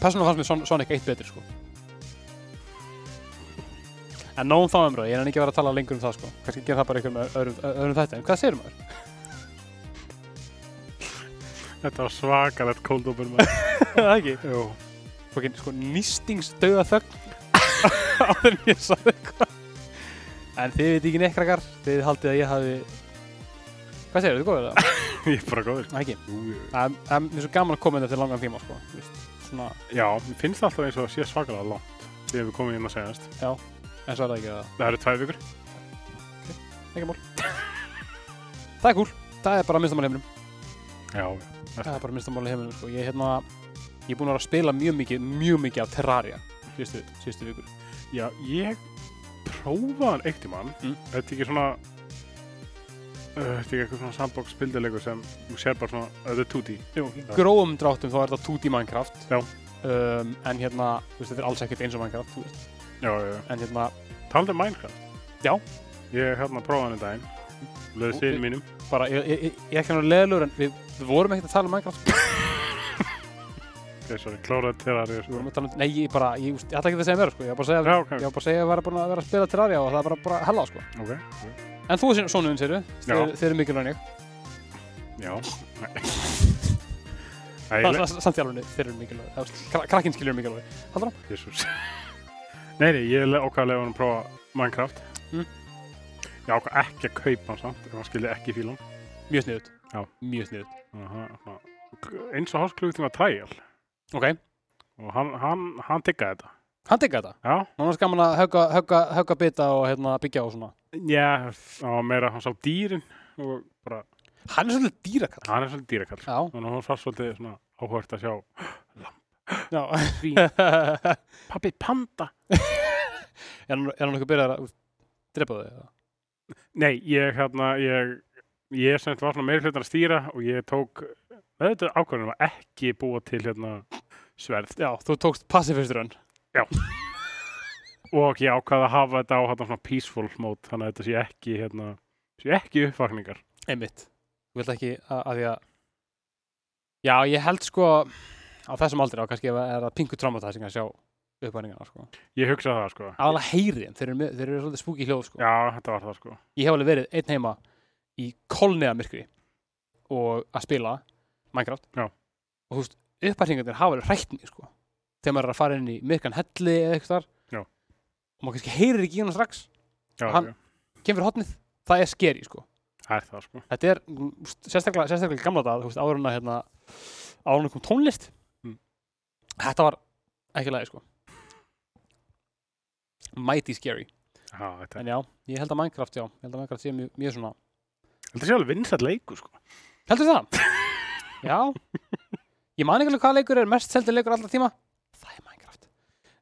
þess vegna fannst mér Son- Sonic 1 betri sko en nógum þá umröð, ég er ekki að vera að tala lengur um það sko kannski gera það bara einhver með öðrum, öðrum þetta en hvað segir maður? Þetta var svakalegt kóldópur maður. það ekki, Jú. fokkin sko nýstingsdauða þögn áður en ég sagði eitthvað en þið veit ekki nekkrakar, þið haldið að ég hafi hvað segir þið, góður það? Ég er bara góður. það ekki, Jú, jú. það er- það er mjög svo gaman að koma þetta til langan tíma sko þú veist, svona, Já, mér finnst það alltaf eins og það sé svakalega langt. Þegar við komum inn að segjast. en svo er það ekki að Það eru tvær vikur. ekki mál það er cool, það er bara minnstamál heiminum Já. það er bara minnstamál heiminum sko. ég er hérna, ég er búin að vera að spila mjög mikið mjög mikið af Terraria síðustu, síðustu vikur Já, ég prófaði hann eitt í mann. Mm. Þetta er ekki svona... Uh, Þetta er ekki eitthvað svona sandbox spildilegur sem þú sér bara svona, þetta er 2D. Jú, í grófum dráttum þá er þetta 2D Minecraft Já. um, en hérna, þú veist, þetta er alls ekkert eins og Minecraft þú veist. Já, já, já. en hérna, Taldu um Minecraft? Já. Ég hérna prófaði hann í daginn. Leðið síðan mínum. bara, ég, ég, ég, ég er ekki hann leðlur en við, við vorum ekkert að tala um Minecraft sko. Ok, sorry, kláraði Terraria. við Sko. vorum að tala um, nei, ég bara, ég, úst, ég ætla ekki að segja meira sko. ég var bara að segja, Já, ok. ég var bara að segja að ég var búin að vera að spila Terraria og það er bara, bara hella sko. Ok. ok. en þú er svona unn, Já. þeir, þeir eru mikilvæg en ég Já. Nei. Nei, ég Það er samt í alveg, þeir eru mikilvæg krakkin skilur eru mikilvæg Jésús Nei, nei, ég le- ákvað að lefa hann að prófa Minecraft Mm. Ég ákvað ekki að kaupa hann samt ef hann skildi ekki fílan Mjög sniðut Já. Mjög sniðut eins og hásklugu tíma trial Ok, og hann, hann, hann tikkaði þetta hann tekka þetta Já, Núna er gaman að högga, högga, högga bita og hérna, byggja og svona já, hann var meira hann sá dýrin og bara, Hann er svolítið dýrakall hann er svolítið dýrakall sko. Já, þannig að hann var svolítið svona áhvert að sjá já Fín. Er Pappi panda hann, er hann eitthvað byrjað að drepa þau? eða? Nei, ég hérna, ég ég sem þetta var svona meira hlutin að stýra og ég tók, þetta ákvörðum að ekki búa til hérna sverð Já, þú tókst passifistur hann og ég ákvaði að hafa þetta á hérna, svona peaceful mode þannig að þetta sé ekki hérna, sé ekki uppvakningar Einmitt Þú vilt ekki að, að því að Já, ég held sko á þessum aldri á kannski ef að- er það pingu traumatizing að sjá uppvæningana sko ég hugsaði það sko Aðalega heyriðin, þeir eru, með- þeir eru svolítið spúki hljóð sko já þetta var það sko ég hef alveg verið einn heima í kolniðamyrkri og að spila Minecraft Já. og þú veist, upphæringarnir hafa alveg hrætt mig sko þegar maður er að fara inn í myrkan helli eða eitthvað þar Já. og maður kannski heyrir ekki í hann strax já, Hann- já, kemur fyrir hotnið, það er skeri sko það er það sko þetta er mm, þú veist, sérstaklega, sérstaklega í gamla dag þú veist, áður en að hérna, áður en að kom tónlist Mm. þetta var ekki lagi sko mighty scary já, þetta, en já, ég held að Minecraft já, ég held að Minecraft sé mjög, mjög svona þetta sé alveg vinsætt leiku sko Heldur það? Já Ég man ekki alveg hvað leikur er mest seldi leikur alltaf tíma Það er Minecraft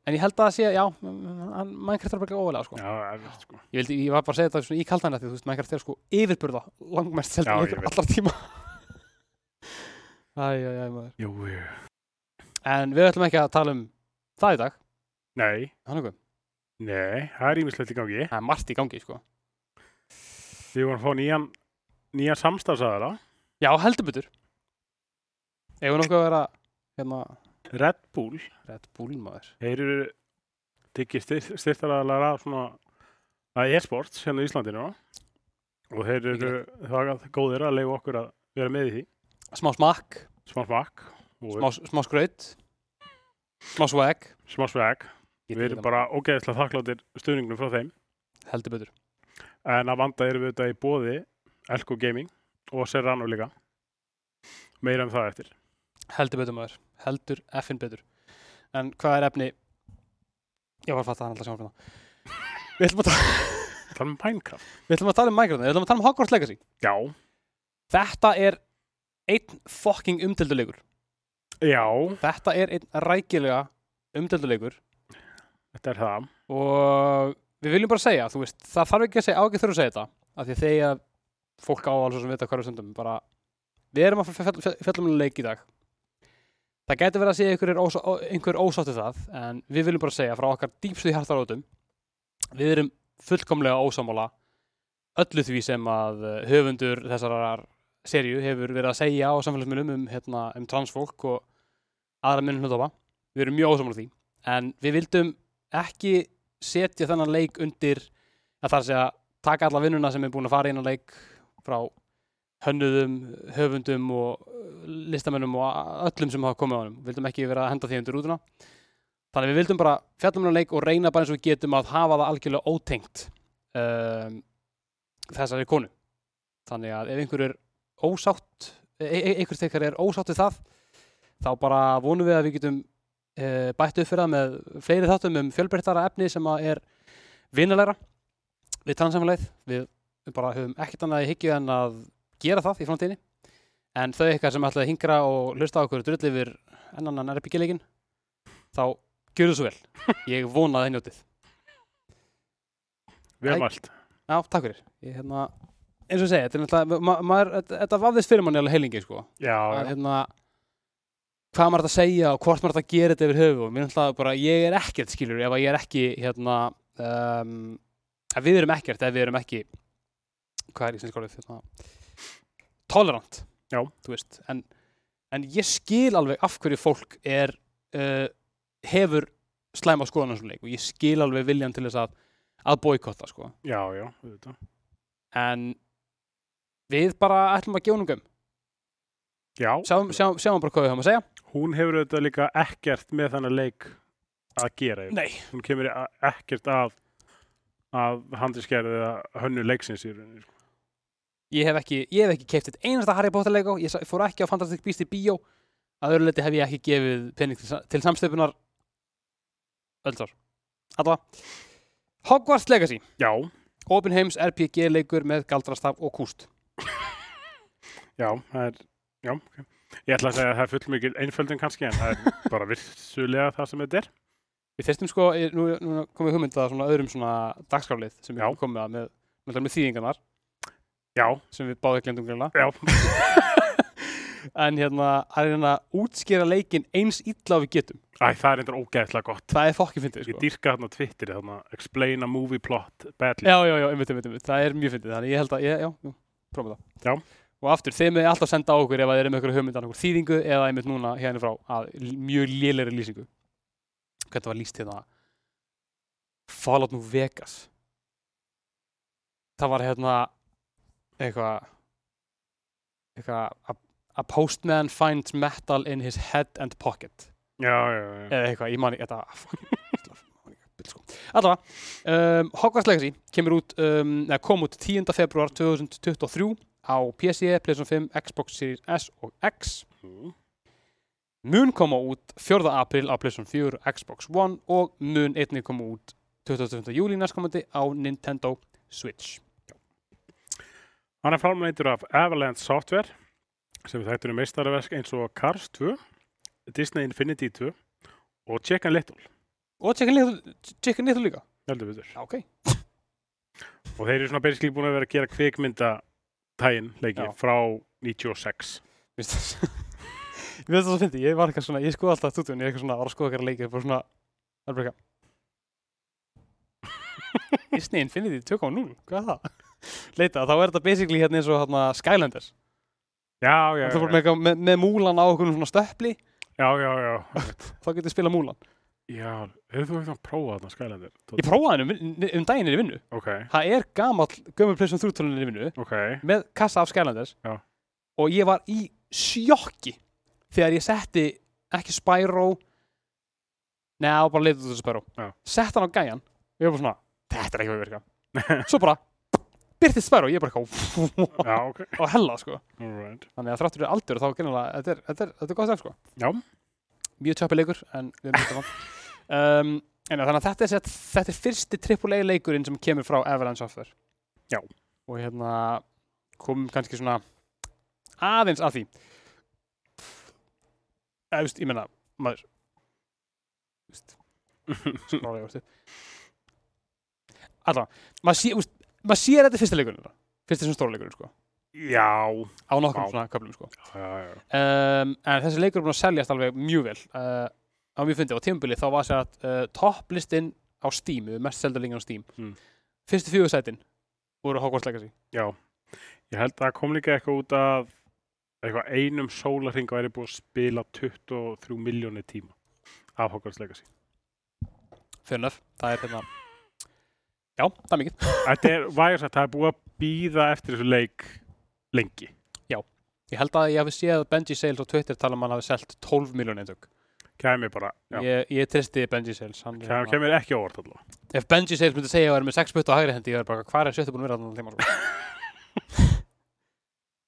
En ég held að það sé, já, m- m- hann- Minecraft er bara ólega sko. já, eftir, sko. ég, vildi, ég var bara að segja þetta svona í kaldan því, þú veist, Minecraft er sko yfirburða langmest seldi Já, ég leikur veit. alltaf tíma Æ, æ, æ, maður jú, jú. En við ætlum ekki að tala um það í dag nei, Hann okkur, nei, það er ímislegt í gangi það er margt í gangi sko við vorum að fá nýjan nýja samstafsaðara, Já, heldur betur Ef hann okkur að vera, hérna, Red Bull Red Bull maður þeir eru tekið styr, styrtaraðalega að svona að e-sports hérna í Íslandinu og þeir eru það er góðir að leifa okkur að vera með í því Smá smakk, smá smakk og smá, smá skraut Smá swag smá sveg Ég við til í erum það. bara ógeðslega þakkláttir stuðningnum frá þeim heldur betur en að vanda erum við auðvitað í bóði Elko Gaming og Serrano líka meira um það eftir heldur betur maður, heldur effin betur en hvað er efni ég var að fatta hann alltaf sjónfjörna við ætlum að tala Það er með um Minecraft við ætlum að tala um Minecraft, við ætlum að tala um Hogwarts Legacy Já, þetta er einn fucking umdelduleikur já, þetta er einn rækilega umdelduleikur þetta er það og við viljum bara segja, þú veist það þarf ekki að segja, á ekki þurfa að segja þetta af því að þegar fólk á alveg sem vita hvað við stundum bara, við erum að fjall- fjall- fjallum um leik í dag það gæti verið að segja einhver, er ósá, ó- einhver ósátti það en við viljum bara segja frá okkar dýpstu í hartarótum við erum fullkomlega ósámála öllu því sem að eh, höfundur þessarar serju hefur verið að segja á samfélagsmiðlum um, hérna, um transfólk og aðra minnum hlutofa við erum mjög ósamlega því en við vildum ekki setja þennan leik undir að það sé að taka alla vinnuna sem er búin að fara inn á leik frá hönnuðum, höfundum og uh, listamönnum og a- öllum sem hafa komið á honum, vildum ekki vera að henda því undir rútuna þannig að við vildum bara fjallum hann leik og reyna bara eins og við getum að hafa það algjörlega ótengt um, þessari konu þannig að ef einhver er ósátt e e einhver stekkar er ósátt við það þá bara vonum við að við getum e bætt upp fyrir það með fleiri þáttum um fjölbreyttara efni sem að er vinalegra við transamfélagið við bara höfum ekkert annað í hyggju en að gera það í framtíðinni en þau ykkar sem ætlaði að hingra og hlusta á okkur drull yfir ennannan RPG-leikin þá gjörðu svo vel ég vona að það njótið Vel Æ. mælt. Já, takk fyrir. Ég, hérna, eins og ég segi, þetta er náttúrulega, ma maður, þetta- þetta vafðist fyrir manni alveg heilingi, sko. Já, Að, já. hérna, hvað maður þetta að segja og hvort maður þetta að gera þetta yfir höfu. Mér er náttúrulega bara, ég er ekkert, skilur, ef að ég er ekki, hérna, um, að við erum ekkert, ef við erum ekki, hvað er í sinnskólið, hérna, tolerant. Já. Þú veist, en, en ég skil alveg af hverju fólk er, uh, hefur slæma skoðan á þessum leik og ég skil alveg viljan til þess að, að boykotta, sko já, já, auðvitað. en við bara ætlum að gjónungum Já, sjáum, sjáum, sjáum bara hvað við höfum að segja hún hefur auðvitað líka ekkert með þannig leik að gera. Nei. Hún kemur í- a- ekkert af, af handiskerðið að hönnu leiksins í rauninni. Sko. ég hef ekki, ég hef ekki keift eitt einasta Harry Potter leikó ég sa- fór ekki á Fantastic Beast í bíó að öðru leiti hef ég ekki gefið pening til, sa- til samstöpunar öllsar allavega Hogwarts Legacy, Já, Open Heims RPG leikur með galdrastaf og kúst já, það er, já, ok. Ég ætla að segja að það er fullmikil einföldin kannski, en það er bara vissulega það sem þetta er. við þyrstum sko, ég- nú, nú komið hugmyndað svona öðrum svona dagskálið sem Já. við komum með, með, með, með þýðingarnar Já, sem við báðið glemdum greinlega já, en hérna að reyna að útskýra leikin eins illa og við getum æ, það er endur ógeðslega gott. það er fokkin fyndið Ég sko. dýrka þarna á Twitter, þarna, explain a movie plot badly. já, já, já, einmitt, einmitt, einmitt, það er mjög fyndið þannig ég held að, ég, já, já, prófa það Já. og aftur, þeim er alltaf senda á okkur ef að þeir eru með okkur hugmyndan okkur þýðingu eða einmitt núna hérna frá að l- mjög lélegri lýsingu hvernig var lýst hérna Fallout New Vegas það var hérna eitthvað eitthvað a, a postman finds metal in his head and pocket Já, já, já. eða eitthvað, ég mani, þetta sko. allavega um, Hogwarts Legacy kemur út um, neða, kom út 10. februar 2023 á PC, PlayStation 5, Xbox Series S og X Mm. mun koma út 4. april á PlayStation 4, Xbox One og mun einnig koma út 25. júli næstkomandi á Nintendo Switch Hann er framleitur af Avalanche Software sem við þættum um meistaraverk eins og Cars 2, Disney Infinity 2 og Chicken Little, og Chicken Little, Chicken Little líka heldur við þurr. Já, ok, Og þeir eru svona basically búin að vera að gera kvikmynda tægin leiki Já. frá 96. Mér finnst það Ég veit það svo fyndi, ég var eitthvað svona, ég skoði alltaf tutunni, ég er eitthvað svona, var að skoða eitthvað leikir, bara svona, það er bara eitthvað. Disney Infinity 2.0, hvað er það? Leita, þá er þetta basically hérna eins og hérna Skylanders. Já, Það já, já, er bara með, eitthvað- með, með múlan á okkur svona stöppli, já, já, já. þá getur spila múlan. Já, hefur þú eitthvað prófað þarna Skylander? Ég prófaði henni um, vin- um daginn er í vinnu. Ok, Það er gamall, gömur plessum þrjútólunir í vinnu, ok, með kassa af Skylanders. Já. Og ég var í sjokki þegar ég setti ekki Spyro, neða, bara leitur út af Spyro. Já. sett hann á gæjan ég var bara svona, þetta er ekki að virka svo bara, byrtist spæru og ég bara eitthvað já, ok, og hella sko alright. þannig að þráttur við aldur þá gennilega, þetta er, þetta er, þetta er gott þess sko Já, mjög tjöpi leikur, en við erum þetta vann um, en já, þannig að þetta er, sett, þetta er fyrsti AAA leikurinn sem kemur frá Avalanche Software Já. og hérna komum kannski svona aðeins að því eða, þú veist, ég meina, maður þú veist, skrála ég vorstu allavega, maður sé, þú veist, maður sér þetta í fyrsta leikurinn þeirra, fyrsta sem stóra leikurinn sko já, á nokkrum Vá. svona köflum sko já, já, um, en þessi leikur er búin að seljast alveg mjög vel uh, á mjög fyndi á tímabili þá var sér að uh, topplistinn á Steam, yfir mest selda lingin á Steam Mm. fyrstu fjögur sætin voru Hogwarts Legacy já. Ég held að það kom líka eitthvað út af eitthvað einum sólarhing væri búið að spila 23 miljónir tíma af Hogwarts Legacy fair enough, það er hérna já, það er mikið, Þetta er vægarsætt, það er búið að býða eftir þessu leik lengi ég held að ég hafi séð að Benji Sales á Twitter tala um að hann hafi selt 12 miljón eintök, Kæmi bara, já, ég, ég tristi Benji Sales hann, er kæmi, hérna- kæmi ekki á óvart allavega ef Benji Sales myndi segja að ég er með 6 putt á hægri hendi, ég er bara hvað er sjöttu búin að vera þannig tíma sko?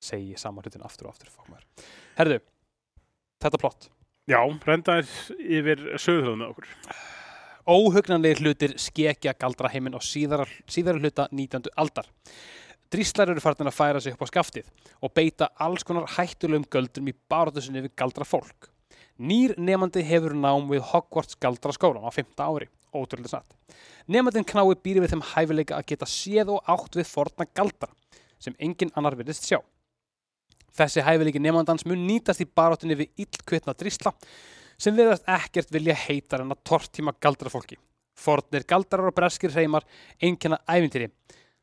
segi ég sama hlutin aftur og aftur fokk maður. herðu, þetta plott Já, rendaðir yfir söðröðum með okkur óhugnanlega hlutir skekja galdra heiminn á síðara, síðara hluta 19. aldar. Dríslar eru farin að færa sig upp á skaftið og beita alls konar hættulegum göldrum í barðusinni við galdra fólk. Nýr nefandi hefur nám við Hogwarts galdra skólan á 5. ári, ótrúlega snart. Nefandin knái býri við þeim hæfileika að geta séð og átt við forna galdra, sem engin annar virðist sjá. Þessi hæfileiki nefandans mun nýtast í baráttunni við illkvitna drísla sem verðast ekkert vilja heitar en að tortíma galdrafólki. Fornir galdarar og breskir hreimar einkenna ævintýri,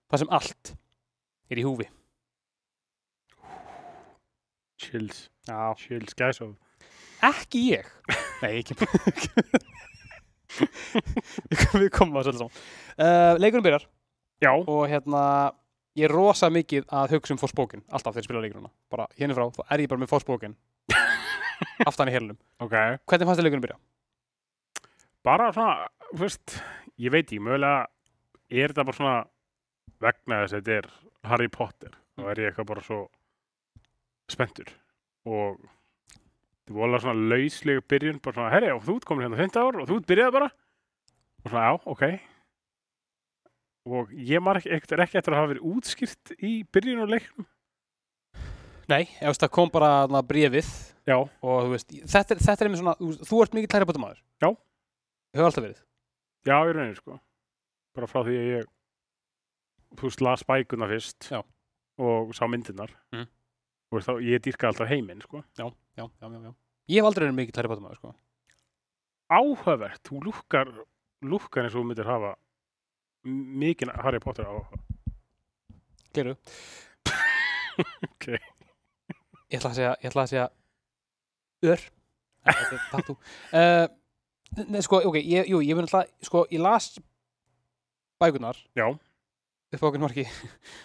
þar sem allt er í húfi. Chills, Já. chills, gæs og Ekki ég. Nei, ekki. Við komum að þessu alls saman. Uh, leikurinn byrjar Já, og hérna, ég er rosa mikið að hugsa um fórspókin, alltaf þegar ég spila leikurina. Bara hérna frá, þá er ég bara með fórspókin aftan í helunum. ok Hvernig fannst þér leikurinn byrja? Bara svona, þú veist, ég veit ekki, mögulega er þetta bara svona vegna þess að þetta er Harry Potter þá er ég eitthvað bara svo spenntur og þið vola svona lauslega byrjun bara svona, herri, og þú ert komin hérna 15 ár og þú ert byrjað bara og svona, já, ok og ég marg ekkert ekki eftir að hafa verið útskýrt í byrjun og leiknum Nei, ég veist, það kom bara þarna, bréfið já, og þú veist, þetta, er- þetta er einmitt svona, þú, veist, þú ert mikið Harry Potter maður Já. Hefur alltaf verið já, í rauninni sko bara frá því að ég þú veist, las bækuna fyrst Já. og sá myndirnar Mhm. og veist, þá, ég dýrka alltaf heiminn sko Já, já, já, já Ég hef aldrei verið mikið Harry Potter maður, sko áhugavert, þú lúkkar lúkkar eins og þú myndir hafa m- mikinn Harry Potter á Geru Ok. Ég ætla að segja, ég ætla að segja Ör En þetta er Tattoo uh, Nei, sko, ok, ég, jú, ég mun alltaf Sko, ég las bækunar Já. Upp á okkur marki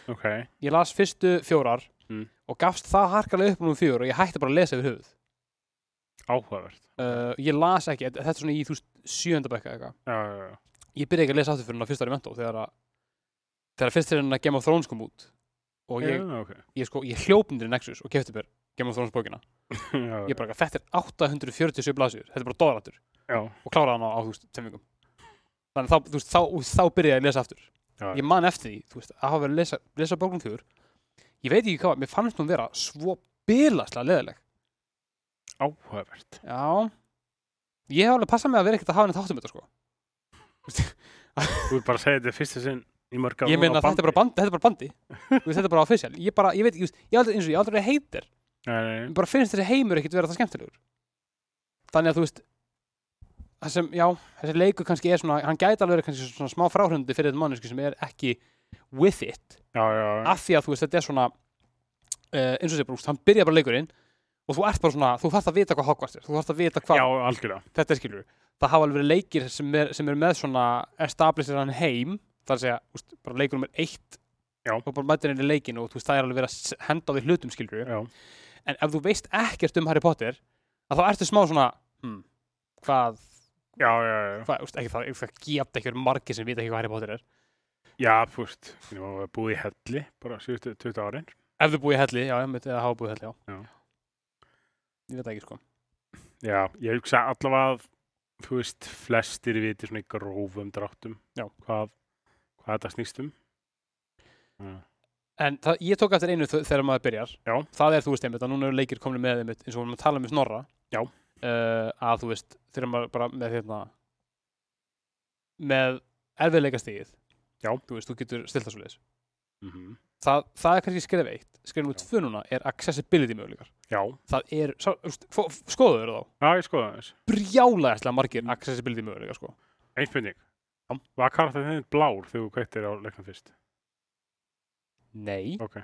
ok, Ég las fyrstu fjórar Mm. Og gafst það harkalega upp um fjör Og ég hætti bara að lesa yfir höfuð áhugavert uh, Ég las ekki, þetta er svona í þú veist, sjönda bekka eitthvað já, já, já, ég byrja ekki að lesa aftur fyrir hann á fyrsta ári í mentó þegar að þegar fyrst er hann að Game of Thrones kom út og ég, já, ok. ég, sko, ég hljóp niður í Nexus og kefti mér Game of Thrones bókina já, ég bara, þetta er 847 blaðsjur þetta er bara dóðarættur já, og kláraði hann á, á þú veist, temmingum þannig þá, þú veist, þá, og þá byrjaði ég að lesa aftur Já. ég man eftir því, þú veist, að hafa verið að lesa, lesa bókum fjögur ég veit ekki hvað, mér fannst hún vera svo bilaslega leðileg áhugavert já, ég hef alveg passað mig að vera ekkert að hafa henni þáttum þetta sko þú er bara að segja þetta í fyrsta sinn í mörg ég meina þetta er bara bandi, þetta er bara bandi Þú veist, þetta er bara official, ég bara, ég veit ekki, þú veist, ég aldrei eins og ég aldrei heitir, bara Mér bara finnst þessi heimur ekkert vera það skemmtilegur þannig að þú veist það sem, já, þessi leikur kannski er svona hann gæti alveg verið kannski svona smá fráhröndi fyrir þetta mannesku sem er ekki with it já, já, já, af því að þú veist, þetta er svona uh, eins og sé brúst, hann byrja bara leikurinn og þú ert bara svona, þú þarft að vita hvað Hogwarts er þú þarft að vita hvað já, algjörlega þetta er skilur það hafa alveg verið leikir sem er, sem er með svona establisher hann heim þar að segja, úst, bara leikur nummer eitt Já. og bara mætir henni leikin og þú veist, það er alveg verið að s- henda á því hlutum skilur já, en ef þú veist ekkert um Harry Potter að þá ertu smá svona hmm, hvað, já, já, já, hvað úst, ekki, það, það geta ekki verið margir sem vita ekki hvað Harry Potter er já, þú veist ég var búið í helli bara síðustu 20 árin ef þú búið í helli, já, ég myndi að hafa búið í helli, já, Já. ég veit það ekki sko já, ég hugsa allavega að þú veist, flestir viti svona í grófum dráttum Já. hvað, hvað þetta snýst um En það, ég tók eftir einu þ- þegar maður byrjar Já. Það er þú veist einmitt að núna eru leikir komin með einmitt eins og við erum að tala um snorra Já. Eh, Að þú veist þegar maður bara með hérna með erfiðleika stigið Já. Þú veist, þú getur stilt það svo leis mm -hmm. það, það er kannski skref eitt Skref nú Já. tvö núna er accessibility möguleikar já, Það er, sá, þú veist, fó- skoður þá já, ég skoða þess Brjálæðislega Mm. margir accessibility möguleikar sko Einn spurning. Já. Var karakter þinn blár þegar þú kveittir á leiknum fyrst? Nei, Ok.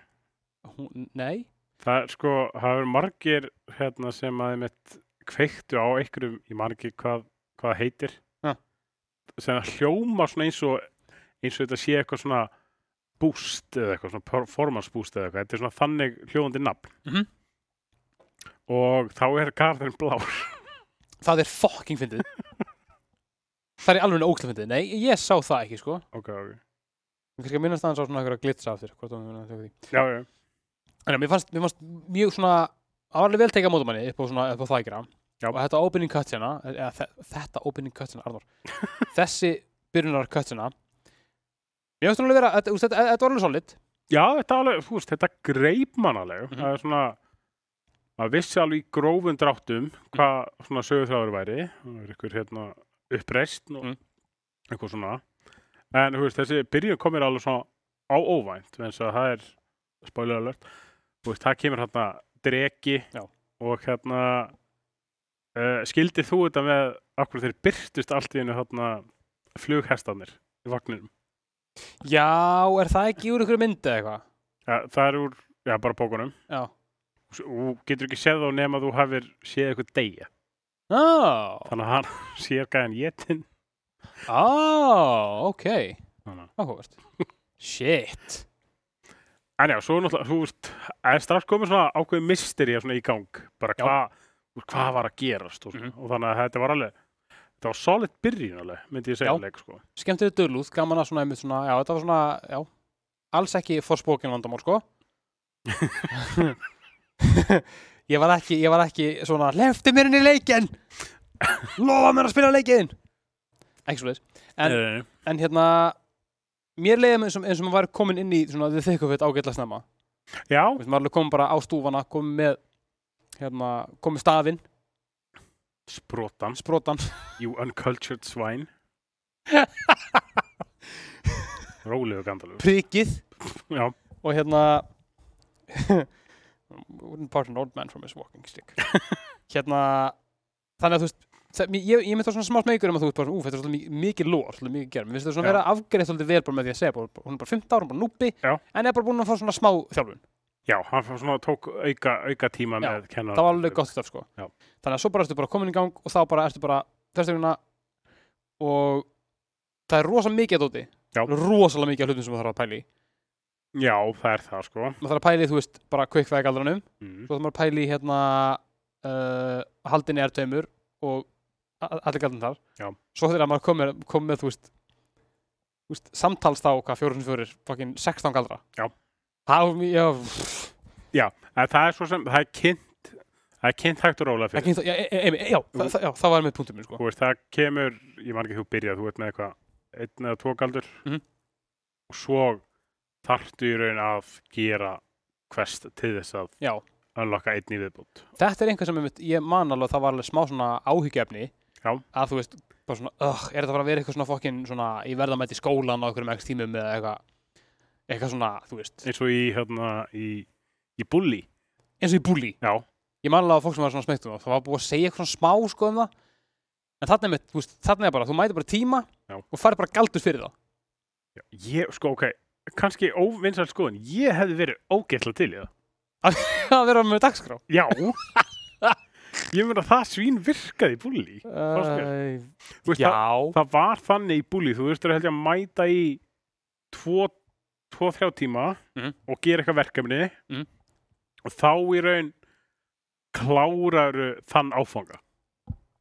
hún, nei Það er sko, það eru margir hérna sem að þeim eitt kveiktu á einhverjum, ég man ekki hvað hvað það heitir Já. sem það hljóma svona eins og eins og þetta sé eitthvað svona boost eða eitthvað, svona performance boost eða eitthvað þetta er svona þannig hljóðandi nafn Mhm. og þá er karakterinn blár Það er fucking fyndið Það er alveg ógæslega fyndið Nei, ég sá það ekki sko ok, ok, Mér kannski að minnast aðeins á svona einhverja glitsa aftur Hvort það mun að þjóka því já, já, En mér fannst, mér fannst mjög svona Það var alveg vel tekið á mótum henni upp á, svona, upp á það ekki Já. Og þetta opening cutscena eða, þe- Þetta opening cutscena, Arnór Þessi byrjunar cutscena Mér finnst hún alveg vera Þetta, þú veist, þetta, þetta var alveg solid já, þetta alveg, þú veist, þetta greip mann alveg, Mhm. það er svona maður vissi alveg í grófum dráttum hvað Mhm. svona sögurþráður væri það er ykkur hérna uppreist og Mhm. eitthvað svona en þú veist, þessi byrjun komir alveg svona á óvænt, eins og það er spoiler alert, þú veist, það kemur hérna dregi Já. og hérna uh, skildir þú þetta með akkur þeir byrtust allt í hennu hérna flughestarnir í vagninum Já, er það ekki úr einhverju myndi eða eitthvað? ja, það er úr, já, bara bókunum Já og getur ekki séð þá nema þú hafir séð eitthvað deyja Á, þannig að hann sér gæðan jetin á, ok Þannig. Áhugast Shit en já, svo náttúrulega, þú veist en strax komið svona ákveðið misteri svona í gang, bara Já. Mhm. hvað hvað var að gerast og, svona. og þannig að þetta var alveg þetta var solid byrjun alveg, myndi ég segja Já. leik, sko. skemmtileg dölúð, gaman að svona einmitt svona, já, þetta var svona, já, alls ekki fórspókin vandamál, sko. ég var ekki, ég var ekki svona, leftu mér inn í leikin, lofa mér að spila leikin. Ekki svo En- en, En hérna, mér leiði mig eins og, eins og maður var komin inn í svona þið þykku fyrir ágætla snemma. já, Þú veist, maður alveg kom bara á stúfana, kom með, hérna, kom með stafinn, sprotan sprótan. you uncultured swine rólegu gandalur prikið Já. og hérna wouldn't part an old man from his walking stick hérna þannig að þú veist það- mér- ég, ég myndi það svona smá smegur um að þú veist bara, ú, þetta er svolítið mi- mikið lór, svolítið mikið gerð mér finnst það svona Já. vera afgreitt svolítið vel bara með því að segja bara, bara- hún er bara 15 ára, hún er bara núpi Já. en er bara búin að fá svona smá þjálfun já, hann fann svona tók auka, auka tíma Já, með kennar það var alveg gott stöf sko Já. þannig að svo bara ertu bara komin í gang og þá bara ertu bara þessteguna og það er rosa mikið að dóti Já. rosalega mikið að hlutum sem það þarf að pæli já, það er það sko maður þarf að pæli, þú veist, bara kveikvæðgaldranum mm. svo það maður pæli í hérna uh, haldinni er tveimur og a- allir galdin þar Já. svo þegar maður kom með, kom með þú veist, þú veist samtals þá hvað fjórum sem fjórir, fokkin 16 galdra Já. það var mjög, já, pff, En það er svo sem, það er kynnt það er kynnt hægt og róla fyrir ekki, já, e, e, e, já það, það, já, það var með punktum minn sko þú veist, það kemur, ég man ekki þú byrjað þú veit með eitthvað, einn eða tvo galdur Mhm. og svo þarftu í raun að gera quest til þess að já, unlocka einn í viðbútt þetta er einhver sem einmitt, ég man alveg að það var alveg smá svona áhyggefni Já. að þú veist, bara svona, ögh, er þetta bara að vera eitthvað svona fokkin svona, ég verða með þetta í skólan á einhverjum ekst tímum eða eitthvað eitthvað svona, þú veist, eins og í, hérna, í, í bulli eins og í búli já, ég man alveg að fólk sem var svona smeykt um það það var búið að segja eitthvað svona smá sko um það en þarna er, mitt, þú veist, þarna er bara, þú mætir bara tíma Já. og farið bara galdur fyrir það já, ég, sko, ok kannski óvinsælt skoðun, ég hefði verið ógeðslega til í það, að vera með dagskrá já ég meina það svín virkaði í bulli uh, þú veist, já, það, það var þannig í búli þú þurftur að held ég að mæta í tvo, tvo þrjá tíma Mhm. og gera eitthvað verkefni Mhm. og þá í raun kláraru þann áfanga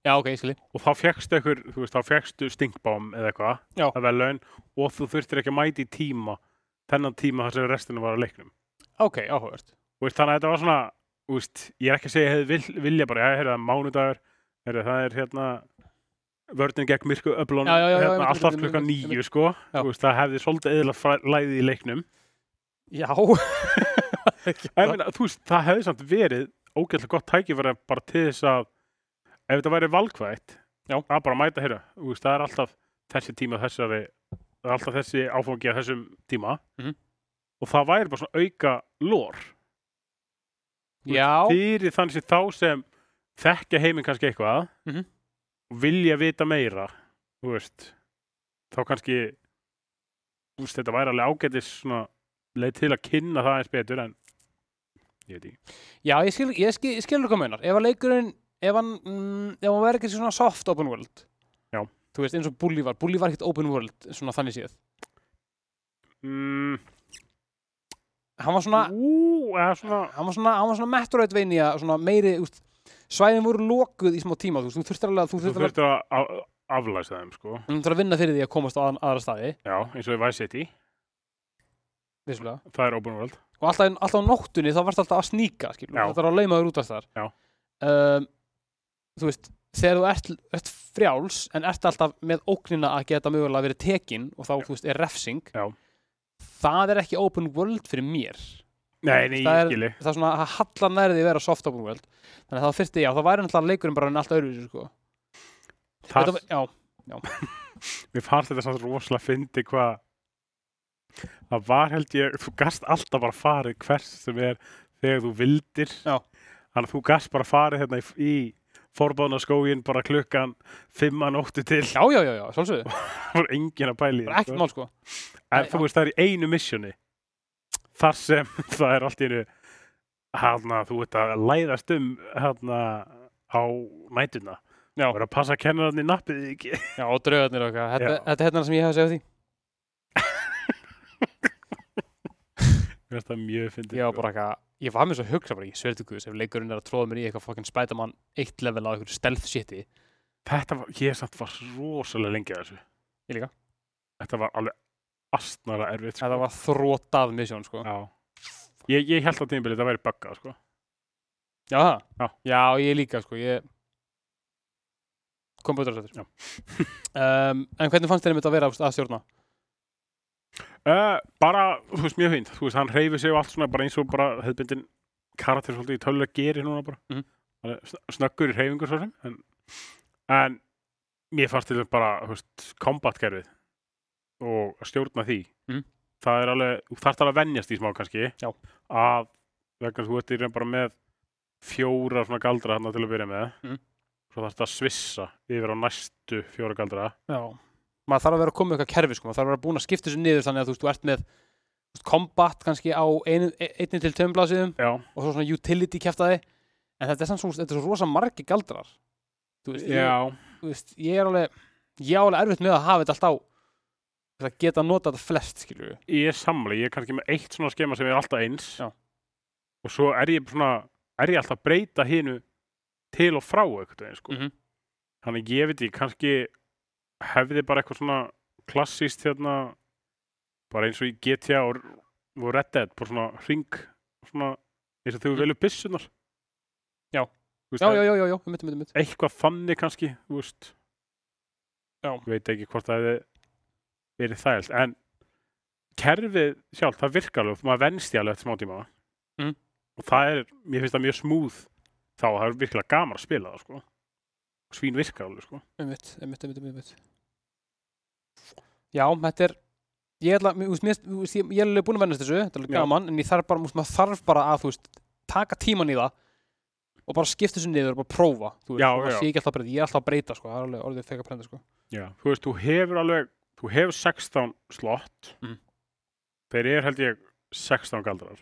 já, ok, ég skilji og þá fjekkstu ykkur, þú veist, þá fjekkstu stingbám eða eitthvað, Já. að velun og þú þurftur ekki að mæta í tíma þennan tíma þar sem restinu var á leiknum ok, áhugavert Þú veist, þannig að þetta var svona þú veist, ég er ekki að segja að ég hefði vil, vilja bara, já, heyrðu, það er mánudagur heyrðu, það er hérna vörnin gegn myrku öflun Já, já, já, já, hérna, einmitt, alltaf einmitt, klukkan einmitt, nýju sko Já. Þú veist, það hefði svolítið eðla læðið í leiknum já, en, meina, þú veist, það hefði samt verið ógætlega gott tækifæri bara til þess að ef þetta væri valkvætt Já. að bara mæta hérna veist, það er alltaf þessi tíma þessari það er alltaf þessi áfangi að þessum tíma Mhm. og það væri bara svona auka lór já, fyrir þannig sem þá sem þekkja heiminn kannski eitthvað Mhm. og vilja vita meira þú veist þá kannski þú veist, þetta væri alveg ágætis svona, leið til að kynna það eins betur en ég veit ekki já, ég skil ég skil, ég skil hvað meinar, ef að leikurinn ef hann, mm, ef hann verður ekki svona soft open world Já. Þú veist, eins og Bully var, Bully var ekkert open world svona þannig séð. Mm, Hann var svona, ú, eða svona, hann var svona, hann var svona Metroidvania, svona meiri, úst, svæðin voru lokuð í smá tíma, þú veist, þú þurftir alveg, að- þú þú þurftir alveg, þurftur að á- aflæsa þeim, sko. þú þurftir að vinna fyrir því að komast á að, aðra staði, Já, eins og í Vice City, vissulega. það er open world. Og alltaf, alltaf á nóttunni þá varst alltaf að sníka, skilur, Já. þetta var að lauma þér út af þar. Já. Um, þú veist, þegar þú ert, ert frjáls, en ert alltaf með ógnina að geta mögulega verið tekin og þá, Já. þú veist, er refsing. Já. Það er ekki open world fyrir mér. Nei, nei, Það ég er- skili. það er svona að halla nærði að vera soft open world þannig að það fyrsti, já, það væri náttúrulega leikurinn bara en allt öðruvísi, sko Það, Þetta var- já, mér fannst þetta samt rosalega fyndi hvað það var held ég, þú gast alltaf bara farið hvers sem er þegar þú vildir Já. þannig að þú gast bara farið hérna í, í forbáðna skógin bara klukkan fimm að nóttu til já, já, já, já, svolsögðu það var engin að pæli bara ekkert mál, sko en þú veist það er í einu missjóni þar sem það er allt í einu hérna þú ert að læðast um hérna á nætuna Já. og er að passa kennararni nappið þig ekki já, og draugarnir og eitthvað, þetta, Já. þetta er hérna sem ég hef að segja af því Mér finnst það mjög fyndið ég var sko. bara eitthvað, ég var með svo að hugsa bara, ég sverðu guðs ef leikurinn er að tróða mér í eitthvað fokkin spætamann eitt level á eitthvað stealth shiti Þetta var, ég samt var rosalega lengi að þessu. Ég líka. Þetta var alveg astnara erfitt, sko. þetta var þrótað misjón, sko Já. Ég, ég held á tímabilið að það væri buggað, sko. já, það? Já. já, ég líka, sko, ég kom betur að þetta Já. um, en hvernig fannst þér einmitt að vera þú veist, að stjórna? Uh, bara, þú veist, mjög fínt. Þú veist, hann hreyfir sig og allt svona, bara eins og bara hefðbundin karakter svolítið í tölulega gerir núna bara. Mhm. Hann er sn- snöggur í hreyfingu svo sem. En, en mér fannst til dæmis bara, þú veist, kombatkerfið og að stjórna því. Mhm. Það er alveg, þú þarft alveg að venjast í smá kannski. Já. Að, vegna þess að þú ert í raun bara með fjóra svona galdra hérna til að byrja með. Mhm. Svo þarft að svissa yfir á næstu fjóra galdra. Já. Maður þarf að vera að koma með eitthvað kerfi, sko. Maður þarf að vera búin að skipta þessu niður þannig að þú veist, þú ert með þú veist, combat kannski á einu, e- einni til tömblasíðum Já. og svo svona utility kæftaði. En þetta er samt svo, þetta er svo rosa margi galdrar. Þú veist, ég, Já. þú veist, ég er alveg, ég er alveg erfitt með að hafa þetta allt á þess að geta að nota þetta flest, skilur við. ég er sammála, ég er kannski með eitt svona skema sem er alltaf eins Já. og svo er ég svona, er ég alltaf að breyta hinu til og frá eitthvað eins, sko. Mhm. þannig ég veit ég kannski hefði bara eitthvað svona klassist hérna bara eins og í GTA og, og Red Dead, bara svona ring svona, eins og þau Mhm. velur byssunar Já. Þú veist, Já, já, já, já, já, um mitt, um mitt, um mitt. eitthvað þannig kannski, þú veist Já. Ég veit ekki hvort það hefði verið þægilt, en kerfið sjálf, það virkar alveg og maður venst í alveg eftir smá tíma Mm. og það er, mér finnst það mjög smúð þá, það er virkilega gaman að spila það sko. svín virkar alveg sko. Um mitt, um mitt, um mitt, um mitt. Já, þetta er, ég ætla, mér, þú veist, mér, þú veist, ég, ég er alveg búin að vennast þessu, þetta er alveg Já. gaman, en ég þarf bara, þú veist, maður þarf bara að, þú veist, taka tíman í það og bara skipta þessu niður og bara prófa, þú veist, Já, og já. sé ekki alltaf að breyta, ég er alltaf að breyta, sko, það er alveg orðið fekk að brenda, sko. Já. þú veist, þú hefur alveg þú hefur 16 slott Mhm. þeir eru held ég 16 galdrar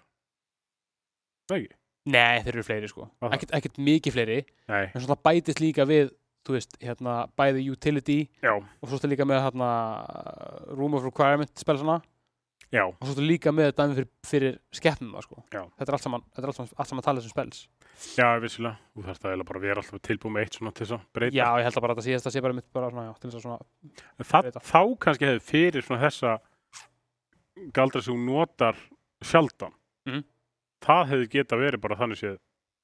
Nei, þeir eru fleiri, sko, Aha. ekkert, ekkert mikið fleiri, Nei, en svona það bætist líka við, þú veist, hérna, bæði utility já, og svo stu líka með, hérna, room of requirement spelsana já og svo stu líka með dæmi fyrir, fyrir skeppnum, sko. Já. Þetta er allt saman, þetta er allt saman, allt saman talið sem spels. Já, vissulega. Þú þarfst að eiginlega bara vera alltaf tilbúið með eitt svona til þess að breyta. Já, ég held að bara þetta síðast að sé bara mitt bara svona, já, til þess að svona, En það, breyta. þá kannski hefði fyrir svona þessa galdra sem hún notar sjaldan. Mhm. Það hefði geta verið bara þannig séð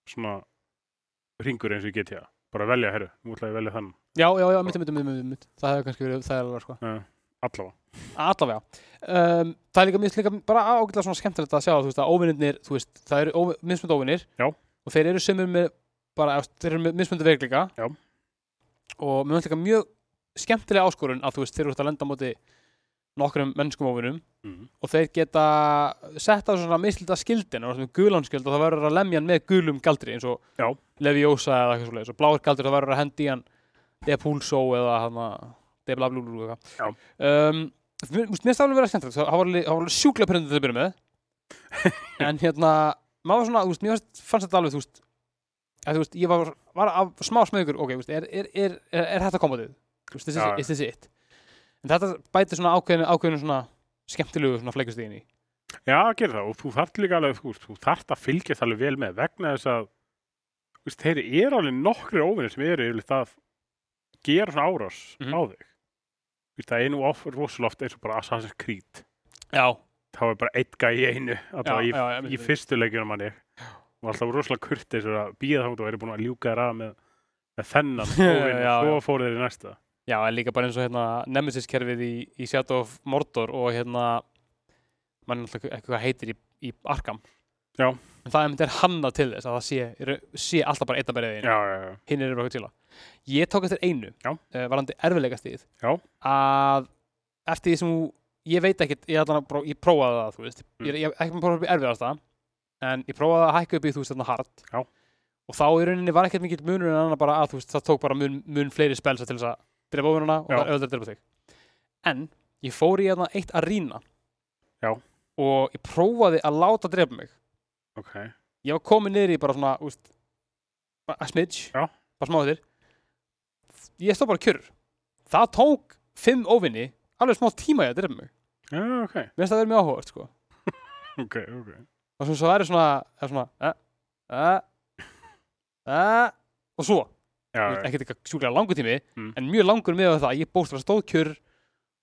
svona ringur eins og ég geti það. Bara velja, herru, nú ætla ég að velja þann já, já, já, mitt, mitt, mitt, mitt, mitt, það hefur kannski verið, það er alveg, sko, allavega. allavega, um, það er líka, mér finnst líka bara ágætlega svona skemmtilegt að sjá, þú veist, að óvinnirnir, þú veist, það eru óvi- mismunandi óvinnir, Já. og þeir eru sömur með, bara, þú veist, þeir eru með mismunandi veikleika, Já. og mér finnst líka mjög skemmtilega áskorun að, þú veist, þeir eru út að lenda á móti nokkrum mennskum óvinnum, Mhm. og þeir geta sett á svona mislita skildin og svona gulanskild og það verður að lemja hann með gulum galdri eins og Já. Leviosa eða eitthvað svoleiðis og bláir galdur það verður að hendi hann Depulso eða hann Deblablúlú eða eitthvað um, Mér mér finnst það alveg verið skemmtilegt það það var alveg, það var alveg sjúklega pyrrandi til að byrja með en hérna maður var svona, þú veist, mér fannst, fannst þetta alveg þú veist, að, þú veist ég var, var af smá smögur ok, þú veist, er, er, er, er, er þetta komandið Þú veist, this Já, já. is, is this it en þetta bætir svona ákveðinu, ákveðinu svona skemmtilegu svona flækustíðin í Já, gera það og þú þarft líka alveg, þú, veist, þú þarft að fylgja það alveg vel með vegna þess að þú veist, þeir eru alveg nokkri óvinnir sem eru yfirleitt að gera svona árás Mhm. á þig. Þú veist, það er nú of rosalega oft eins og bara Assassin's Creed. já, Þá er bara einn gæi í einu, alltaf í, já, í fyrstu leikjunum manni. Var alltaf rosalega kurtið sem að býða þátt og eru búin að ljúka þér að með, með þennan óvinn Já, og svo já. fóru þeir í næsta. Já, en líka bara eins og hérna Nemesis-kerfið í, í Shadow of Mordor og hérna mann alltaf ekki hvað heitir í, í Arkham Já. En það einmitt er hannað til þess að það sé, eru- sé alltaf bara einna berðið Já, já, já. hinn er bara eitthvað til að Ég tók eftir einu Já. eh, varandi erfiðleikastíð Já. að eftir því sem þú- ég veit ekkit ég, allan, að pró- ég prófaði það, þú veist Mm. ég, ég, ekki maður prófaði upp í erfiðasta en ég prófaði að hækka upp í þú veist þarna hart Já. og þá í rauninni var ekkert mikill munur en annað bara að þú veist það tók bara mun, mun fleiri spelsa til þess að drepa óvinnuna og Já. það er auðvitað að drepa þig en ég fór í þarna eitt arína Já. og ég prófaði að láta drepa mig Ok. ég var komin niður í bara svona úst, bara að smidge Já. bara smá þér ég stóð bara kjörur það tók fimm óvinni alveg smá tíma ég að drepa mig Já, ok. mér finnst það verið mjög áhugavert sko Ok, ok. og svo, svo er svona, er svona eh, eh, eh, og svo Já, Þú veist, já. ekkert eitthvað sjúklega langur tími Mm. en mjög langur með það að ég bóst var stóð kjörur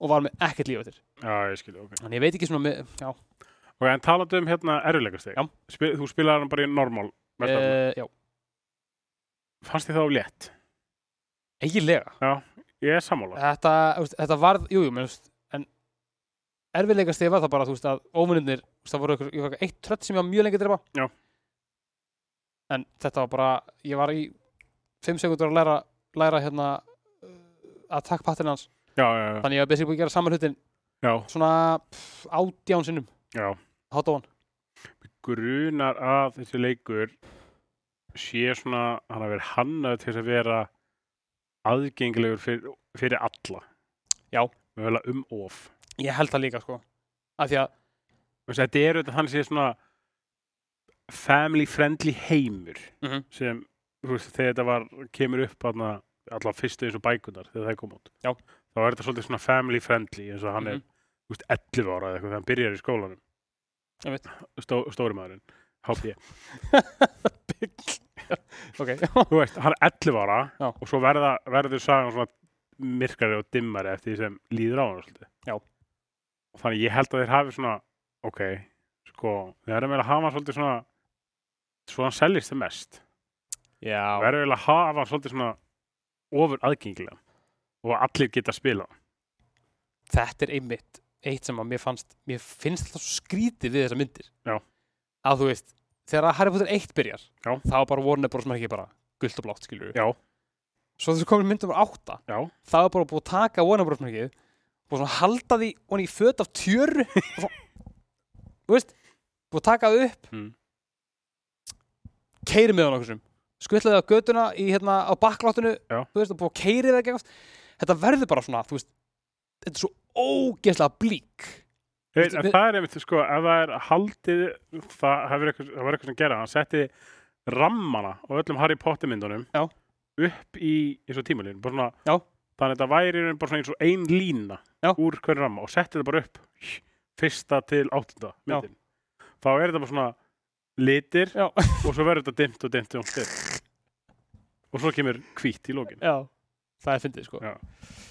og var með ekkert líf eftir já, ég skilja, ok. þannig ég veit ekki svona með, já, Ok, en talandi um hérna erfiðleikasteg. Já. Spil, þú spilaði hann bara í normal. Uh, uh, já Fannst þið þá létt? eiginlega Ég er sammála. þetta, þú veist, þetta varð, jú, jú, menn, þú veist, en erfiðleika stið var það bara, þú veist, að óvinnir, það voru ykkur, ykkur eitt trött sem ég var mjög lengi að drepa. Já. En þetta var bara, ég var í fimm sekundur að læra, læra hérna að takk pattinn hans, Já, já, já. þannig ég var basically búin að gera saman hlutin já, svona pff, átján sinnum, já. hát á hann. Grunar að þessi leikur sé svona, hann hafi verið hannað til þess að vera aðgengilegur fyrir, fyrir alla. Já. Mögulega um of. Ég held það líka, sko. Af því að, Þessi, þetta er auðvitað hann sé svona family friendly heimur Mhm. sem, þú veist, þegar þetta var, kemur upp hann allavega fyrstu eins og bækunar þegar það kom út. Já. Þá er þetta svolítið svona family friendly eins og hann er Mhm. þú veist, 11 ára eða eitthvað þegar hann byrjar í skólanum. Einmitt. Stó, stóri maðurinn, HP. Mhm. ok, Þú veist, hann er 11 ára Já. og svo verða, verður sagan svona myrkari og dimmari eftir því sem líður á hann svolítið. Já. Og þannig ég held að þeir hafi svona, ok, sko, við verðum eiginlega að hafa hann svolítið svona, svo hann seljist það mest. já, Við verðum eiginlega að hafa hann svolítið svona ofur aðgengilega og að allir geta að spila. þetta er einmitt eitt sem að mér fannst mér finnst alltaf svo skrítið við þessar myndir Já. að þú veist, þegar að Harry Potter 1 byrjar Já. þá var bara Warner Bros. merkið bara gult og blátt skilur Já. svo þessu komin myndum bara 8 Já. þá er bara búið að taka Warner Bros. merkið og svona halda því og í föt af tjöru og svo, þú veist búið að taka það upp Mm. keiri með hann okkur sem skvillaði á götuna í hérna á bakkláttinu Já. þú veist og búið að keiri það gegast þetta verður bara svona, þú veist þetta er svo ógeðslega blík Hey, Veistu, en við- það er einmitt, sko, ef það er haldið, það, hefur eitthvað, það var eitthvað sem gera, hann setti rammana á öllum Harry Potter myndunum Já. upp í eins og tímulínu, bara svona, Já. þannig að þetta væri í rauninni bara svona eins og ein lína Já. úr hverju ramma og setti þetta bara upp fyrsta til áttunda myndin. Þá er þetta bara svona litir Já. og svo verður þetta dimmt og dimmt og dimmt. Og svo kemur hvít í lókin. Já, það er fyndið sko Já.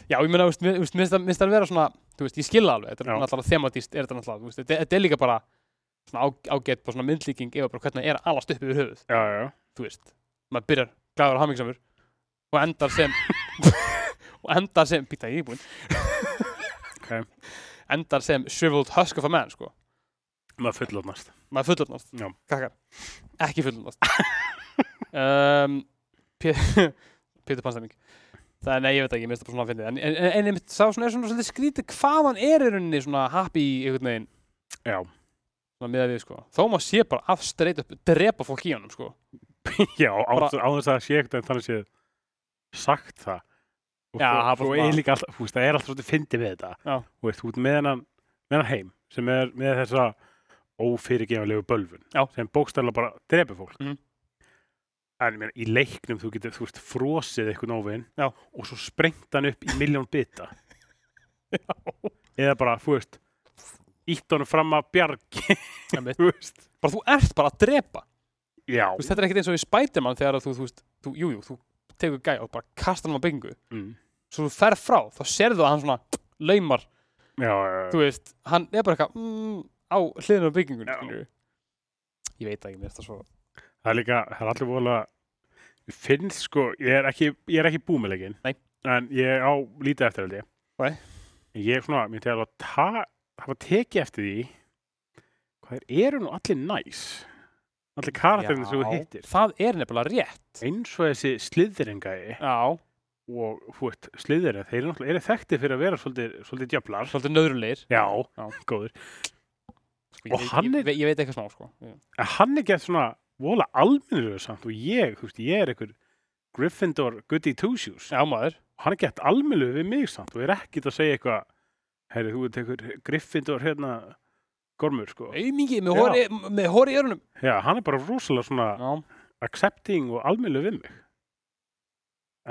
Já, ég meina, þú veist, mér- þú veist, mér finnst það- mér finnst það að vera svona Þú veist, ég skilða alveg, þetta er Já. náttúrulega thematist er þetta náttúrulega, þú veist, þetta, þetta er líka bara svona á, ágætt, bara svona myndlíking eða bara hvernig það er að alast upp yfir höfuð, Já, já, þú veist maður byrjar glæður og hamingsamur og endar sem og endar sem, býta ég er búinn ok. endar sem shriveled husk of a man, sko Maður fullotnast. maður fullorðnast Já. krakkar, ekki fullorðnast um, P- Pétur Pannstæming það er, nei, ég veit ekki, mér finnst það bara svona að finna en, en, en- en einmitt sá svona, er svona svolítið skrítið hvað hann er í rauninni svona happy í einhvern veginn Já. svona miðað við, sko þó maður sé bara að streit upp drepa fólk í honum, sko Já, á, Bara- á þess að það sé ekkert en þannig séð sagt það og Já, það er bara svo, svo svona- er líka alltaf, þú veist, það er alltaf svolítið fyndið við þetta Já. og veist, út með hennan, með hennan heim sem er með þessa ófyrirgefanlegu bölvun Já. sem bókstæðlega bara drepi fólk Mhm. en ég meina, í leiknum þú getur, þú veist, frosið eitthvað nóvin Já. og svo sprengt hann upp í miljón bita eða bara, þú veist ítt honum fram að bjargi Einmitt. þú veist bara þú ert bara að drepa já, Þú veist, þetta er ekkert eins og í Spiderman þegar að þú, þú veist, þú, jú, jú, þú tegur gæ og bara kastar hann á byggingu mm. svo þú ferð frá, þá sérðu að hann svona laumar, já, já, já. þú veist hann er bara eitthvað mm, á hliðinu á byggingunni Já. skilurðu. ég veit það ekki, mér er þetta svo það er líka, það er allir vola ég finn sko, ég er ekki ég er ekki búmilegin, Nei. en ég á lítið eftir held ég Nei. En ég er svona, mér til að ta, hafa tekið eftir því hvað þeir eru nú allir næs allir karakterinn sem þú Já, hittir það er nefnilega rétt eins og þessi sliðringaði já, og hú veit, sliðurinn, þeir eru náttúrulega eru þekkti fyrir að vera svolítið, svolítið djöflar svolítið nöðrulegir já, Já. góður sko, ég, Og veit- hann er- ég, veit- ég veit eitthvað smá sko. Já. en hann er gett svona vola almennilegu samt og ég, þú veist, ég er einhver Gryffindor goody two shoes já, maður hann er gett almennilegu við mig samt og er ekkit að segja eitthvað herri, þú veit, einhver Gryffindor hérna gormur, sko aumingi með Já. hóri, með hóri í örunum já, hann er bara rosalega svona já, accepting og almennilegu við mig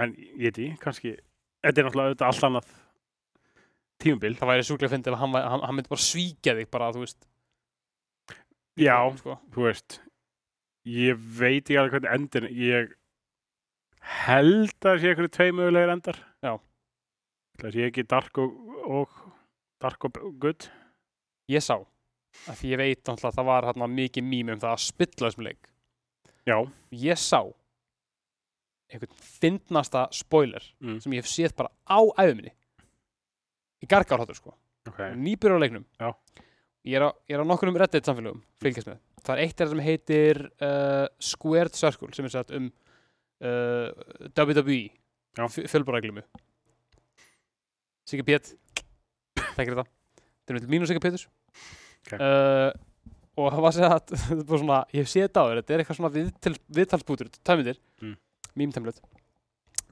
en ég veit ég, kannski þetta er náttúrulega auðvitað allt annað tímabil það væri sjúklega fyndið ef hann, væ- hann, hann myndi bara svíkja þig bara, þú veist já, sko. þú veist ég veit ekki alveg hvernig endir ég held að sé einhverju tvei mögulegir endar Já. það sé ekki dark og, og dark og good ég sá af því ég veit náttúrulega að það var hérna, mikið mím um það að spilla þessum leik já, ég sá einhvern fyndnasta spoiler Mm. sem ég hef séð bara á æfuminni í gargarháttur sko ok nýbyrjur á leiknum Já. ég er á, ég er á nokkrum reddit samfélögum fylgjast með það er eitt þeirra sem heitir uh, Squared Circle sem er sagt um uh, WWE Já. fjölbaraglimu Sigga Pétt þekkir þetta þetta er mitt mínu Sigga Pétur Ok. uh, og það var sér að þetta er bara svona, ég hef séð þetta á þér þetta er eitthvað svona viðtal, viðtalsbútur tæmiðir, Mm. mýmtemlut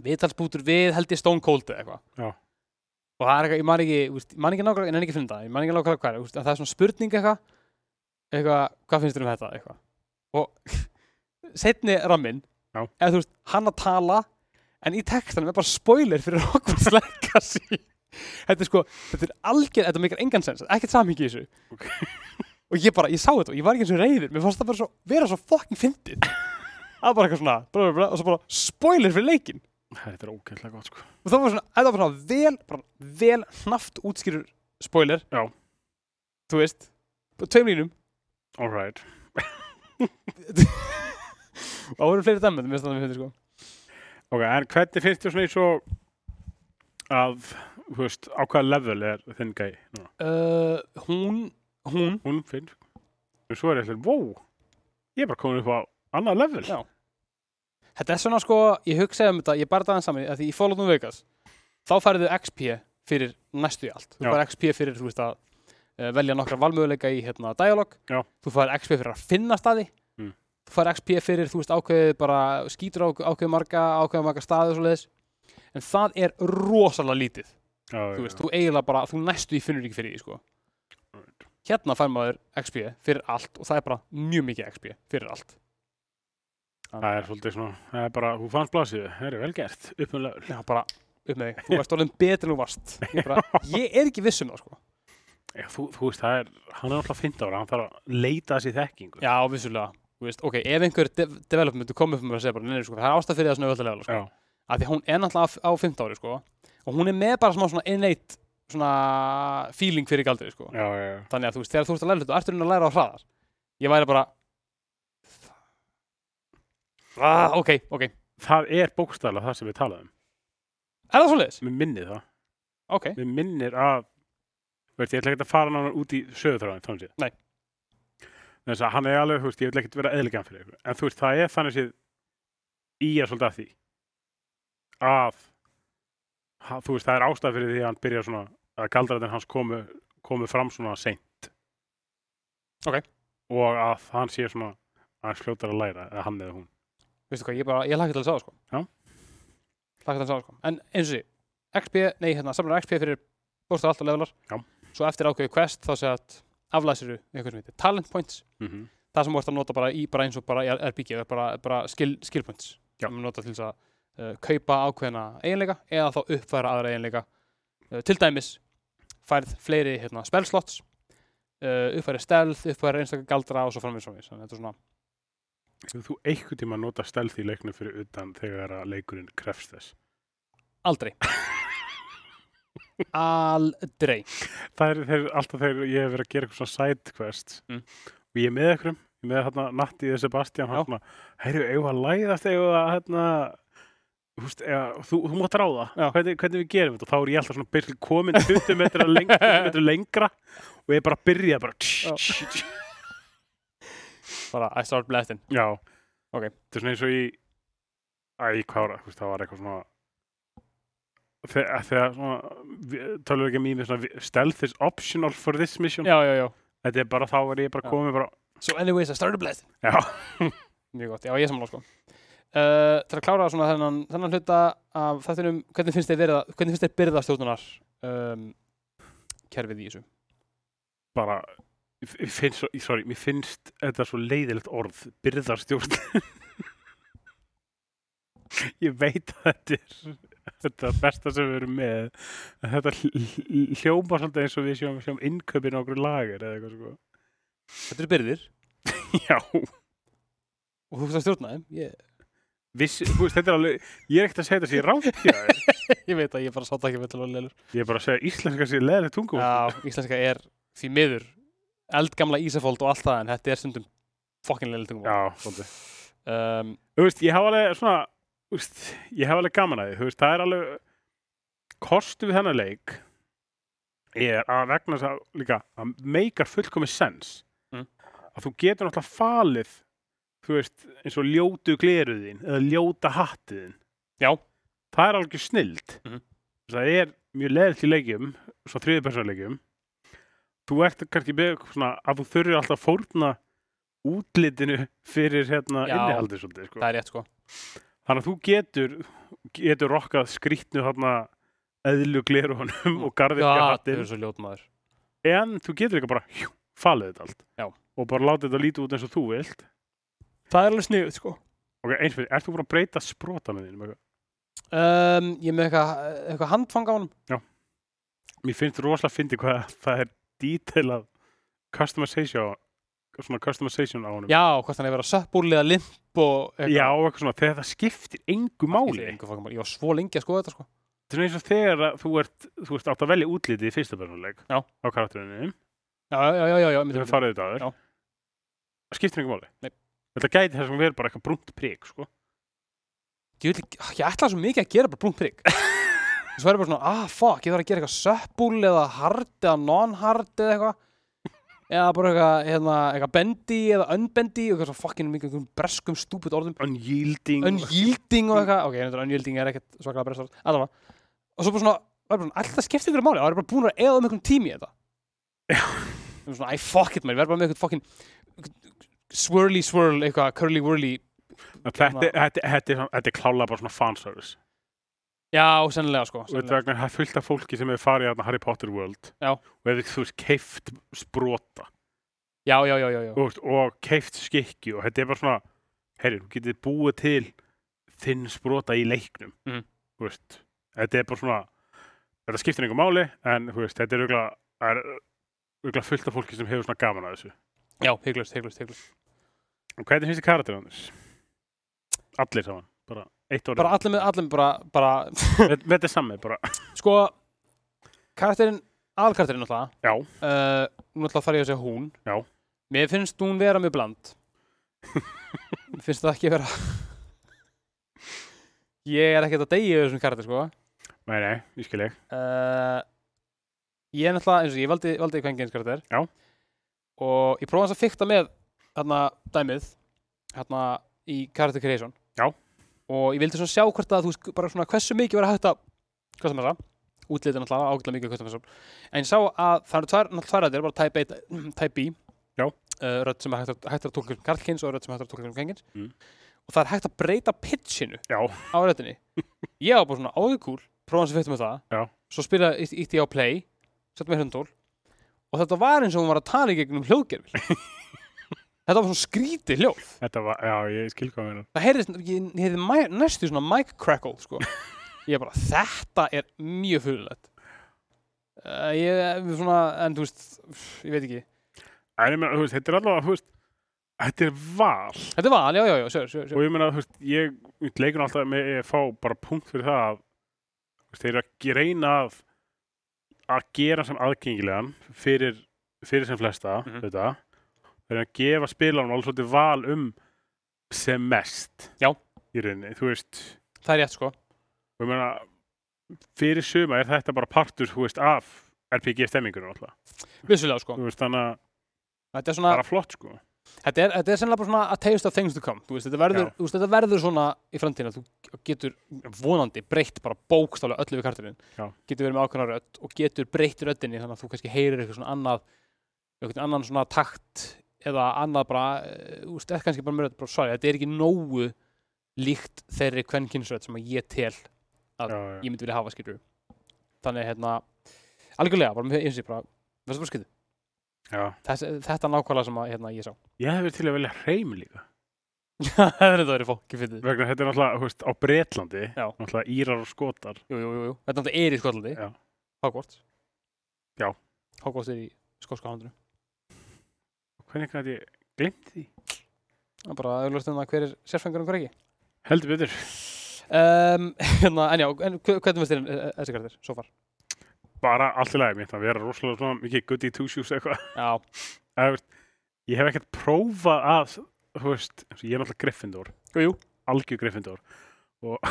viðtalsbútur við held ég Stone Cold eða eitthvað og það er eitthvað, ég man ekki, úst, ég man ekki nákvæmlega, ég nenni ekki að finna það, ég man ekki nákvæmlega hvað, er, úst, en það er svona spurning eitthvað, eitthvað, hvað finnst þér um þetta, eitthvað. Og setni ramminn, Já. eða þú veist, hann að tala, en í textanum er bara spoiler fyrir Hogwarts Legacy. þetta er sko, þetta er algjör, þetta mikil engan sens, ekkert samhengi í þessu. Ok. og ég bara, ég sá þetta og ég var ekki eins og reyður, mér fannst það bara svo, vera svo fucking fyndið. Það var bara eitthvað svona, bla, bla, bla, og svo bara spoiler fyrir leikinn þetta er ógæðlega gott sko og það var svona, þetta var svona vel bara vel hnaft útskýrur spoiler Já. þú veist, bara tveim línum alright og það voru fleiri dæmi, mér finnst það að við finnum sko ok, en hvernig finnst þér svona eins og að, þú veist, á hvaða level er þinn gæi núna? uh, hún, hún hún finn og svo er ég allir, wow ég er bara komin upp á annað level Já. þetta er svona sko, ég hugsaði um þetta ég barði aðeins saman, að því í Fallout New Vegas þá færðu XP fyrir næstu í allt þú Já. færðu XP fyrir, þú veist að eh, velja nokkra valmöguleika í hérna dialog Já. þú færðu XP fyrir að finna staði Mm. þú færðu XP fyrir, þú veist ákveðið bara skýtur á ákveðið marga, ákveðið marga staði og svoleiðis, en það er rosalega lítið já, þú veist, þú eiginlega bara, þú næstu í finnur ekki fyrir því, sko. Right. Hérna fær maður XP fyrir allt og það er bara mjög mikið XP fyrir allt. Það er svolítið svona, það er bara, þú fannst blásið, það er vel gert, uppunlega. Já, bara upp með þig. Þú varst orðin betur en þú varst. Ég, bara, ég er ekki viss um það, sko. Já, þú, þú veist, það er, hann er náttúrulega 15 ára, hann þarf að leita þessi þekkingu. Já, vissulega. Þú veist, ok, ef einhver de development myndu koma upp með mér og segja bara, neina, sko, það er ástæð fyrir það svona öll að sko. Já, Af því hún er náttúrulega á 15 ári, sko, og hún er með bara smá svona inneitt svona feeling fyrir galdri, sko. já, já, já. Þannig að þú veist, þegar þú ert að læra hlutu, ertu raunin að læra á hraðar. Ég væri bara... Ah, ok, ok. Er Það er bókstæðlega það sem við talaðum. það svoleiðis? Mér minnir það. Ok. Mér minnir að, veist, ég ætla ekkert að fara nánar út í sögutráðin, þannig séð. Nei. Þess að hann er alveg, þú veist, ég vil ekkert vera eðligan fyrir ykkur. En þú veist, það er þannig séð í að svolítið að því. Að, ha- þú veist, það er ástæð fyrir því að hann byrja svona, að galdrarnir hans komu, komu fram svona seint. og að hann sé svona aðeins fljótar að læra, eða hann eða hún Veistu hvað, ég bara, ég lakka til að sá það, sko. Já. Lakka til að sá það, sko. En eins og því, XP, nei, hérna, samlar XP fyrir bóstaði allt og levelar. Já. Svo eftir ákveðu quest, þá segja að aflæsiru eitthvað sem heitir talent points. mm -hmm. Það sem vorst að nota bara í, bara eins og bara í RPG, bara, bara skill, skill points. Já. sem er nota til þess að uh, kaupa ákveðna eiginleika eða þá uppfæra aðra eiginleika uh, til dæmis færð fleiri hérna, spelslots uh, uppfæri stelð, uppfæri einstakar galdra og svo framvegis svo þannig að þetta er svona Hefur þú einhvern tíma nota stelð í leiknum fyrir utan þegar að leikurinn krefst þess? aldrei aldrei Það er þeir, alltaf þegar ég hef verið að gera eitthvað svona side quest Mm. og ég er með einhverjum, ég er með hérna Natti eða Sebastian, Já. hann svona, heyrðu, eigum að læðast, eigum að hérna, húst, eða, þú, þú mátt ráða, Já. hvernig, hvernig við gerum þetta og þá er ég alltaf svona byrjum komin 20 metra, leng, 20 metra lengra og ég bara byrja bara, tss, Já. tss, tss, bara I start blasting Já. Ok. Þetta er svona eins og í, æ, hvað var það, þú veist, það var eitthvað svona, þegar, þegar svona, tölur ekki mými, svona, vi- stealth is optional for this mission. já, já, já Þetta er bara, þá var ég bara Já. komið bara, so anyways I started blasting já, Mjög gott, já ég er sammála sko. Uh, til að klára svona þennan, þennan hluta af þættinum, hvernig finnst þér verið hvernig finnst þér byrðastjóðunar um, kerfið í þessu? bara, ég ég finnst, svo- sorry, mér finnst þetta svo leiðilegt orð, byrðarstjórn. ég veit að þetta er, þetta er besta sem við erum með, en þetta hl- hl- hljóma svolítið eins og við sjáum, sjáum innkaupin á okkur lager eða eitthvað sko. Þetta eru byrðir Já. og þú finnst að stjórna þeim ég, Viss, þú veist, þetta er alveg, ég er ekkert að segja þetta sé rámt hjá þér. ég veit að ég bara sátt ekki með til að leilur Ég er bara að segja að íslenska sé leðileg tungum. Já, íslenska er því miður eldgamla Ísafóld og allt það en þetta er stundum fokkin leilig tungum Já, svolítið. um, Þú veist, ég hafa alveg svona, þú veist, ég hafa alveg gaman að því, þú veist, það er alveg, kostu við þennan leik er að vegna þess að líka, að meikar fullkomi sens. Mm. Að þú getur náttúrulega falið, þú veist, eins og ljótu gleruðin eða ljóta hattiðin. Já, það er alveg snild Mhm. það er mjög leðilt í leikjum svo þriði persónuleikjum þú ert kannski með eitthvað svona að þú þurfir alltaf að fórna útlitinu fyrir hérna Já. innihaldið svolítið sko. það er rétt sko þannig að þú getur getur rokkað skrýtnu hérna eðlu glerunum og garðirkja Já, þau hattin eru svo ljótmaður en þú getur líka bara hjú, falið þetta allt Já. og bara látið þetta lítið út eins og þú vilt Það er alveg sniðut sko ok, eins fyrir, ert þú bara að breyta sprotanum þínum eitthvað? um, Ég er með eitthvað eitthva handfang á honum mér finnst rosalega fyndi hvað það er detailað customization svona customization á honum Já, hvort hann hefur verið að söppbúli eða limp og eitthvað. Já, og eitthvað svona, þegar það skiptir engu máli Skiptir engu fucking máli. Ég var svo lengi að skoða þetta sko. þetta er eins og þegar að þú ert þú ert átt að velja útlitið í fyrsta persónuleik Já. á karakterinu, Já, já, já, já, já við myndi, höfum farið þetta aður Já. það skiptir engu máli Nei. þetta gæti þess að vera bara eitthvað brúnt prik sko. Ég, vil, ekki- ég ætla svo mikið að gera bara brún prigg. Svo er ég bara svona, ah fuck, ég þarf að gera eitthvað söppbúli eða hard eða non-hard eða eitthvað. Eða bara eitthvað, hérna, eitthvað bendy eða unbendy og eitthvað svo fucking mikið einhverjum breskum stúpid orðum. unyielding Unyielding og eitthvað. Ok, þetta unyielding er ekkert svakalega brest orð. Allavega. Og svo bara svona, var ég bara, alltaf skiptir ykkur máli, og var ég bara búin að eða um einhverjum tími í þetta. Ég var svona, æ, fuck it, man, ég verð bara með eitthvað fucking swirly swirl, eitthvað curly whirly þetta, þetta, þetta, þetta, er svona- þetta er klálega bara svona fanservice Já, sennilega sko og þetta sennilega. vegna það er fullt af fólki sem hefur farið að Harry Potter World Já. og hefur þú veist keift sprota Já, já, já, já, já. og, og keift skikki og þetta er bara svona herri, þú getið búið til þinn sprota í leiknum Mhm. Þú veist, þetta er bara svona þetta skiptir einhver máli en þú veist, þetta er örugglega- það er örugglega fullt af fólki sem hefur svona gaman að þessu Já, hygglust, hygglust, hygglust og hvernig finnst þið karakterið hans? allir saman, bara eitt orðið Bara allir með, allir með bara, bara Þetta- þetta er samið bara, Sko, karakterinn, aðalkarakterinn náttúrulega já, uh, Náttúrulega þarf ég að segja hún Já. Mér finnst hún vera mjög bland Mér finnst það ekki vera Ég er ekkert að deyja yfir þessum karakter, sko nei, nei, ég skil ég uh, ég er náttúrulega eins og ég valdi, valdi kvengeins karakter Já. og ég prófaði hans að fykta með hérna dæmið hérna í character creation Já. og ég vildi svona sjá hvort að þú veist bara svona hversu mikið var hægt að hvað sem þessa útlitið náttúrulega ágætlega mikið hvað sem þessa en ég sá að það eru tvær náttúrulega tvær rættir bara type, 1, type B Já. uh, rödd sem er hægt að, hægt er að tólka sem karlkins og rödd sem er hægt er að tólka sem kvengeins Mm. og það er hægt að breyta pitchinu já, á röddinni ég var bara svona áður kúl prófaði hans að fyrta með það Já. svo spila, ítt, ítti ég á play sett með hundtól og þetta var eins og hún var að tala í gegnum hljóðgerfil Þetta var svona skrítið hljóð. Þetta var, já, ég skil hvað mér. Það heyrðist, ég ég heyrði mæ- næstu svona mic crackle, sko. Ég er bara, þetta er mjög fyrirlegt. Uh, ég, svona, en þú veist, ég veit ekki. En ég meina, þú veist, þetta er allavega, þú veist, þetta er val. Þetta var, já, já, já, sér, sér, Og sér. ég meina, þú veist, ég, ég leikun alltaf með að fá bara punkt fyrir það að, þú veist, þeir eru að ge- reyna að, að gera sem aðgengilegan fyrir, fyrir sem flesta, Mhm. þetta. Þeir eru að gefa spilanum alveg svolítið val um sem mest. Já. Í rauninni, þú veist, Það er rétt, sko. og ég meina, fyrir suma er þetta bara partur, þú veist, af RPG-stemmingunum alltaf. Vissulega, sko. Þú veist, þannig að Þetta er það svona, er flott, sko. þetta er, þetta er sennilega bara svona a taste of things to come. Þú veist, þetta verður, Já. þú veist, þetta verður svona í framtíðina. Þú getur vonandi breytt bara bókstálega öllu við kartinin. Já. Getur verið með ákveðna rödd og getur breytt röddinni þannig að þú kannski heyrir eitthvað svona annað, eitthvað annan svona takt eða annað bara, eh, þú veist, eða kannski bara mjög, bara, sorry, þetta er ekki nógu líkt þeirri kvenkinsrödd sem að ég tel að Já, já. ég myndi vilja hafa skilur þannig hérna algjörlega, bara með eins og ég bara, verður bara skilur já. Þess, þetta er nákvæmlega sem að hérna, ég sá Ég hef verið til að velja hreim líka. það er þetta verið fólki fyrir Vegna þetta er náttúrulega, þú veist, á Bretlandi, Já. náttúrulega Írar og Skotar. jú, jú, jú, jú. þetta náttúrulega er í Skotlandi Já. Hogwarts Já. Hogwarts er í skótska handru Hvernig gæti ég glimt því? það er bara auðvitað um það hver er sérfengur og hver ekki Heldur betur. um, hérna, en já, en, hve- hvernig veist þér eh, eh, þessi kartir, svo far Bara allt í lagi mitt að vera rosalega svona mikið goody two shoes eitthvað. já, Eða, þú veist, Ég hef ekkert prófað að, þú veist, eins og ég er náttúrulega Gryffindor, jú, jú algjör Gryffindor. Og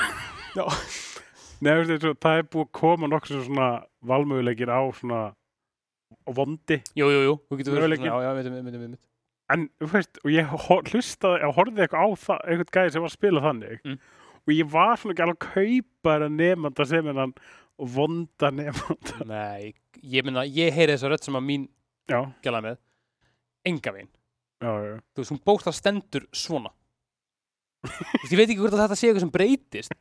Já. Nei, þú veist, eins og það er búið að koma nokkur svona valmögulegir á svona á vondi. Jú, jú, jú, þú getur verið svona, Möguleiki. já, já, veitum, veitum, veitum, veitum. en þú veist, og ég hor- hlustaði og horfði eitthvað á það, eitthvað gæði sem var að spila þannig Mm. og ég var svona ekki alveg að kaupa þennan nefnanda sem hennan og vonda nefnanda Nei, ég minna, ég heyri þessa rödd sem að mín já, gæla með enga veginn já, já, þú veist, hún bókst það stendur svona Þú veist, ég veit ekki hvort að þetta sé eitthvað sem breytist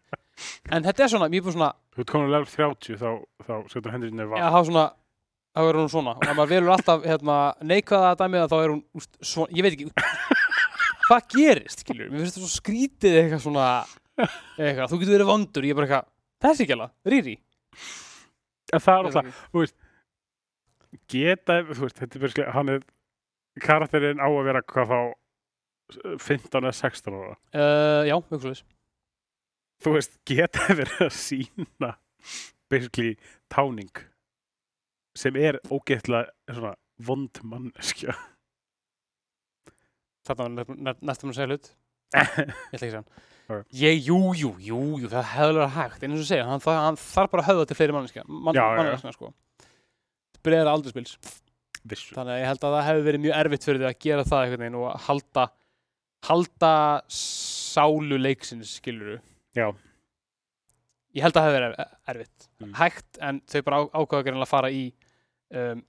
en þetta er svona, mér er bara svona þú ert komin að level 30 þá, þá setur hendur henni að var hafa svona, þá er hún svona og ef maður velur alltaf hérna, neikvæða dæmið að þá er hún úst, svona, ég veit ekki hvað gerist, skilur mér finnst það svo skrítið eitthvað svona eitthvað, þú getur verið vondur, ég er bara eitthvað þessi gæla, rýri en það er alltaf, geta þú veist, þetta er byrsklega, hann er karakterinn á að vera hvað þá 15 eða 16 ára uh, já, eitthvað svo þú veist, geta verið að sína basically táning sem er ógeðtlega svona vond manneskja þarna var næstum að segja hlut ég ætla ekki að segja hann Ok. ég, jú, jú, jú, jú, það hefði verið hægt en eins og segja, hann, þa- hann þarf bara að höfða til fleiri manneskja mann, Já, já, já. manneskja, sko breyðara aldurspils, vissu þannig að ég held að það hefði verið mjög erfitt fyrir þau að gera það einhvern veginn og að halda halda sálu leiksins, skiluru Já. ég held að það hefði verið er- erfitt Mm. hægt, en þau bara á- ákváðu að að fara í um,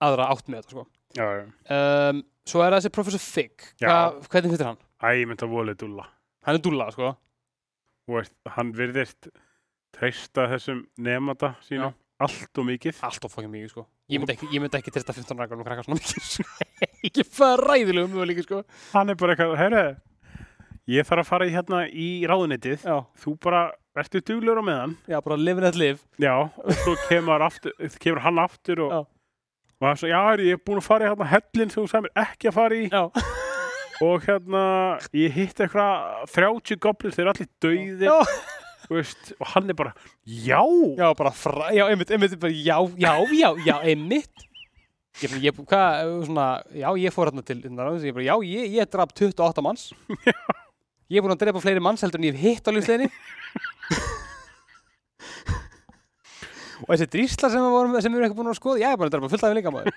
aðra átt með þetta, sko já, já. um, svo er það þessi Professor Fig Já. Hva, hvernig finnst þér hann? Æ, ég myndi að volið dúlla Hann er dúlla, sko Þú veist, hann virðist treysta þessum nefnda sínum allt og mikið allt of fucking mikið sko ég myndi ekki, ég myndi ekki trista 15 rækar og krakka svona mikið sko. ekki fæða ræðilegum mjög líka sko hann er bara eitthvað, herru ég þarf að fara í hérna í ráðunetið já, þú bara, ertu duglur á meðan já bara living that live já, og svo kemur, aftur, kemur hann aftur og, Já. og hann svo, já, heyrðu, ég er búin að fara í hérna hellin sem þú sagði mér ekki að fara í já, og hérna, ég hitt eitthvað 30 goblins, þeir eru allir já, dauðir þú veist, og hann er bara, já, já bara fræ, já, einmitt, einmitt bara, já, já, já, já, einmitt ég, bara, ég, hvað, svona já, ég fór hérna til hérna, ráðuneytisins, ég bara, já, ég, ég draf 28 manns ég er búin að drepa fleiri manns heldur en ég hef hitt á lífsleginni og þessi drísla sem við vorum sem við erum ekki búin að skoða, ég er búin að drepa fullt af þeim líka maður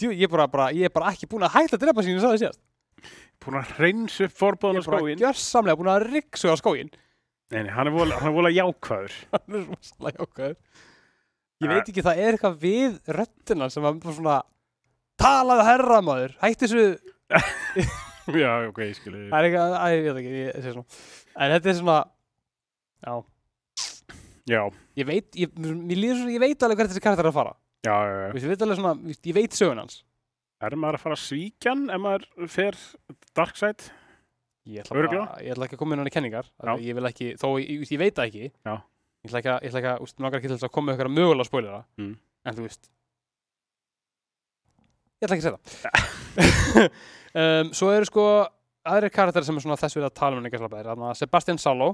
Djú, ég, er bara, bara, ég er bara ekki búin að hætta að drepa sín ég sagði síðast, búin að reyns upp ég forbóðan á er bara skóin gjörsamlega búin að ryggsuga skóin Nei, nei, hann er vola, hann er vola jákvæður hann er rosalega jákvæður ég veit ekki, það er eitthvað við röddina sem var bara svona talaðu herra maður, hætti þessu Já, ok, ég skilji það er eitthvað, að, ég veit ekki ég, ég sé svona. en þetta er svona já, Já, ég veit, ég, mér líður svona, ég veit alveg hvert þessi karakter er að fara já, já, já. Þú veist, ég veit alveg svona, þú veist, ég veit sögun hans Er maður að fara að svíkja hann ef maður fer dark side? Ég ætla, bara, Örugglega. ég ætla ekki að koma inn hann í kenningar af Já. því ég vil ekki, þó ég, ég, ég veit það ekki Já. ég ætla ekki að, ég ætla ekki að, úst, langar ekki til þess að koma með ykkur mögulega spólera Mm. en þú veist ég ætla ekki að segja það um, svo eru sko aðrir karakter sem er svona þess við að tala um en ekki slapaðir, þannig að Sebastian Salo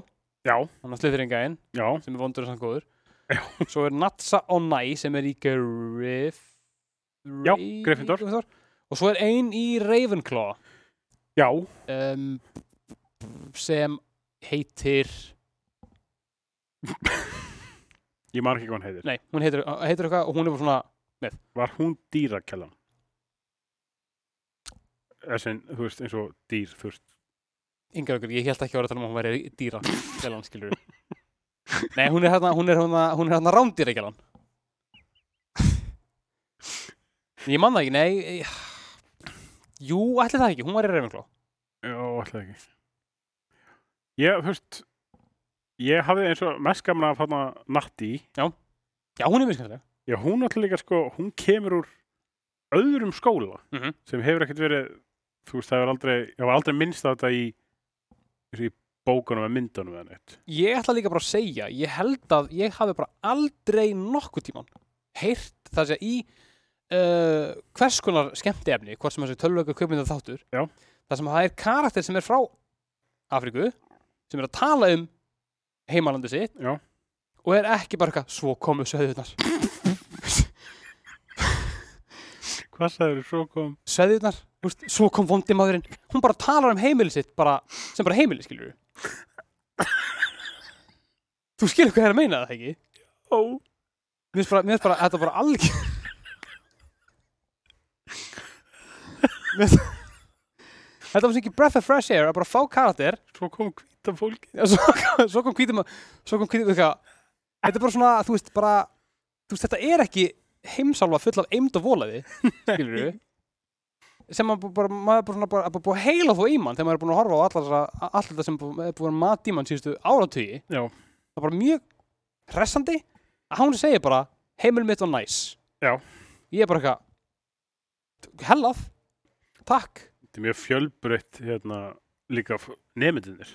Já, hann er sliðringæinn já, sem er vondur og samt góður svo er Natsa Onai sem er í Griff Já, Rey- Gryffindor. og svo er ein í Ravenclaw já, um, sem heitir ég man ekki hvað hann heitir. nei, hún heitir, uh, heitir eitthvað og hún er bara svona Var hún dýrakellan? Þessin, þú veist, eins og dýr, þú veist. yngar okkur, ég held ekki að vera að tala um að hún væri í dýra gælan, skilur nei, hún er hérna hún er hérna, hún er hérna rándýra gælan ég man það ekki, nei ég- jú, ætli það ekki, hún var í Ravenclaw Já, alltaf ekki. Ég, þú veist, ég hafði eins og mest gaman af hann að Natti. já, hún er mjög skemmtileg Já, hún alltaf líka, sko, hún kemur úr öðrum skóla. mm -hmm. sem hefur ekkert verið þú veist, það hefur aldrei, ég var aldrei minnst á þetta í, eins og í bókunum eða myndunum eða neitt. ég ætla líka bara að segja, ég held að ég hafi bara aldrei nokkuð tíman heyrt það sé í uh, hvers konar skemmtiefni hvort sem þessi tölvöku kveikmynda þáttur Já. það sem það er karakter sem er frá Afríku, sem er að tala um heimalandi sitt Já. og er ekki bara eitthvað svo komu sveðunar Hvað sagður svo kom? sveðunar, úst, svo kom vondi maðurinn hún bara talar um heimili sitt bara, sem bara heimili skilur þú skilur hvað ég er að meina það ekki Ó. Mér finnst bara, mér finnst bara, þetta er bara algjör Mér finnst- Þetta var sem ekki breath of fresh air að bara fá karakter Svo kom hvita fólki. og svo, kom- svo kom hvítum að- svo kom hvítum eitthvað Þetta er bara svona, þú veist, bara þú veist, þetta er ekki heimsálfa full af eimd og volaði skilur við sem maður bara, maður bara, svona, bara, bara búið að heila þó í mann þegar maður er búin að horfa á allar þessa- allt þetta sem bú- er búin að mati í mann síðustu áratugi Já. það er bara mjög hressandi að hún segir bara heimil mitt var næs Já. ég er bara eitthvað hellað, takk Þetta er mjög fjölbreytt hérna líka f- nemyndinir.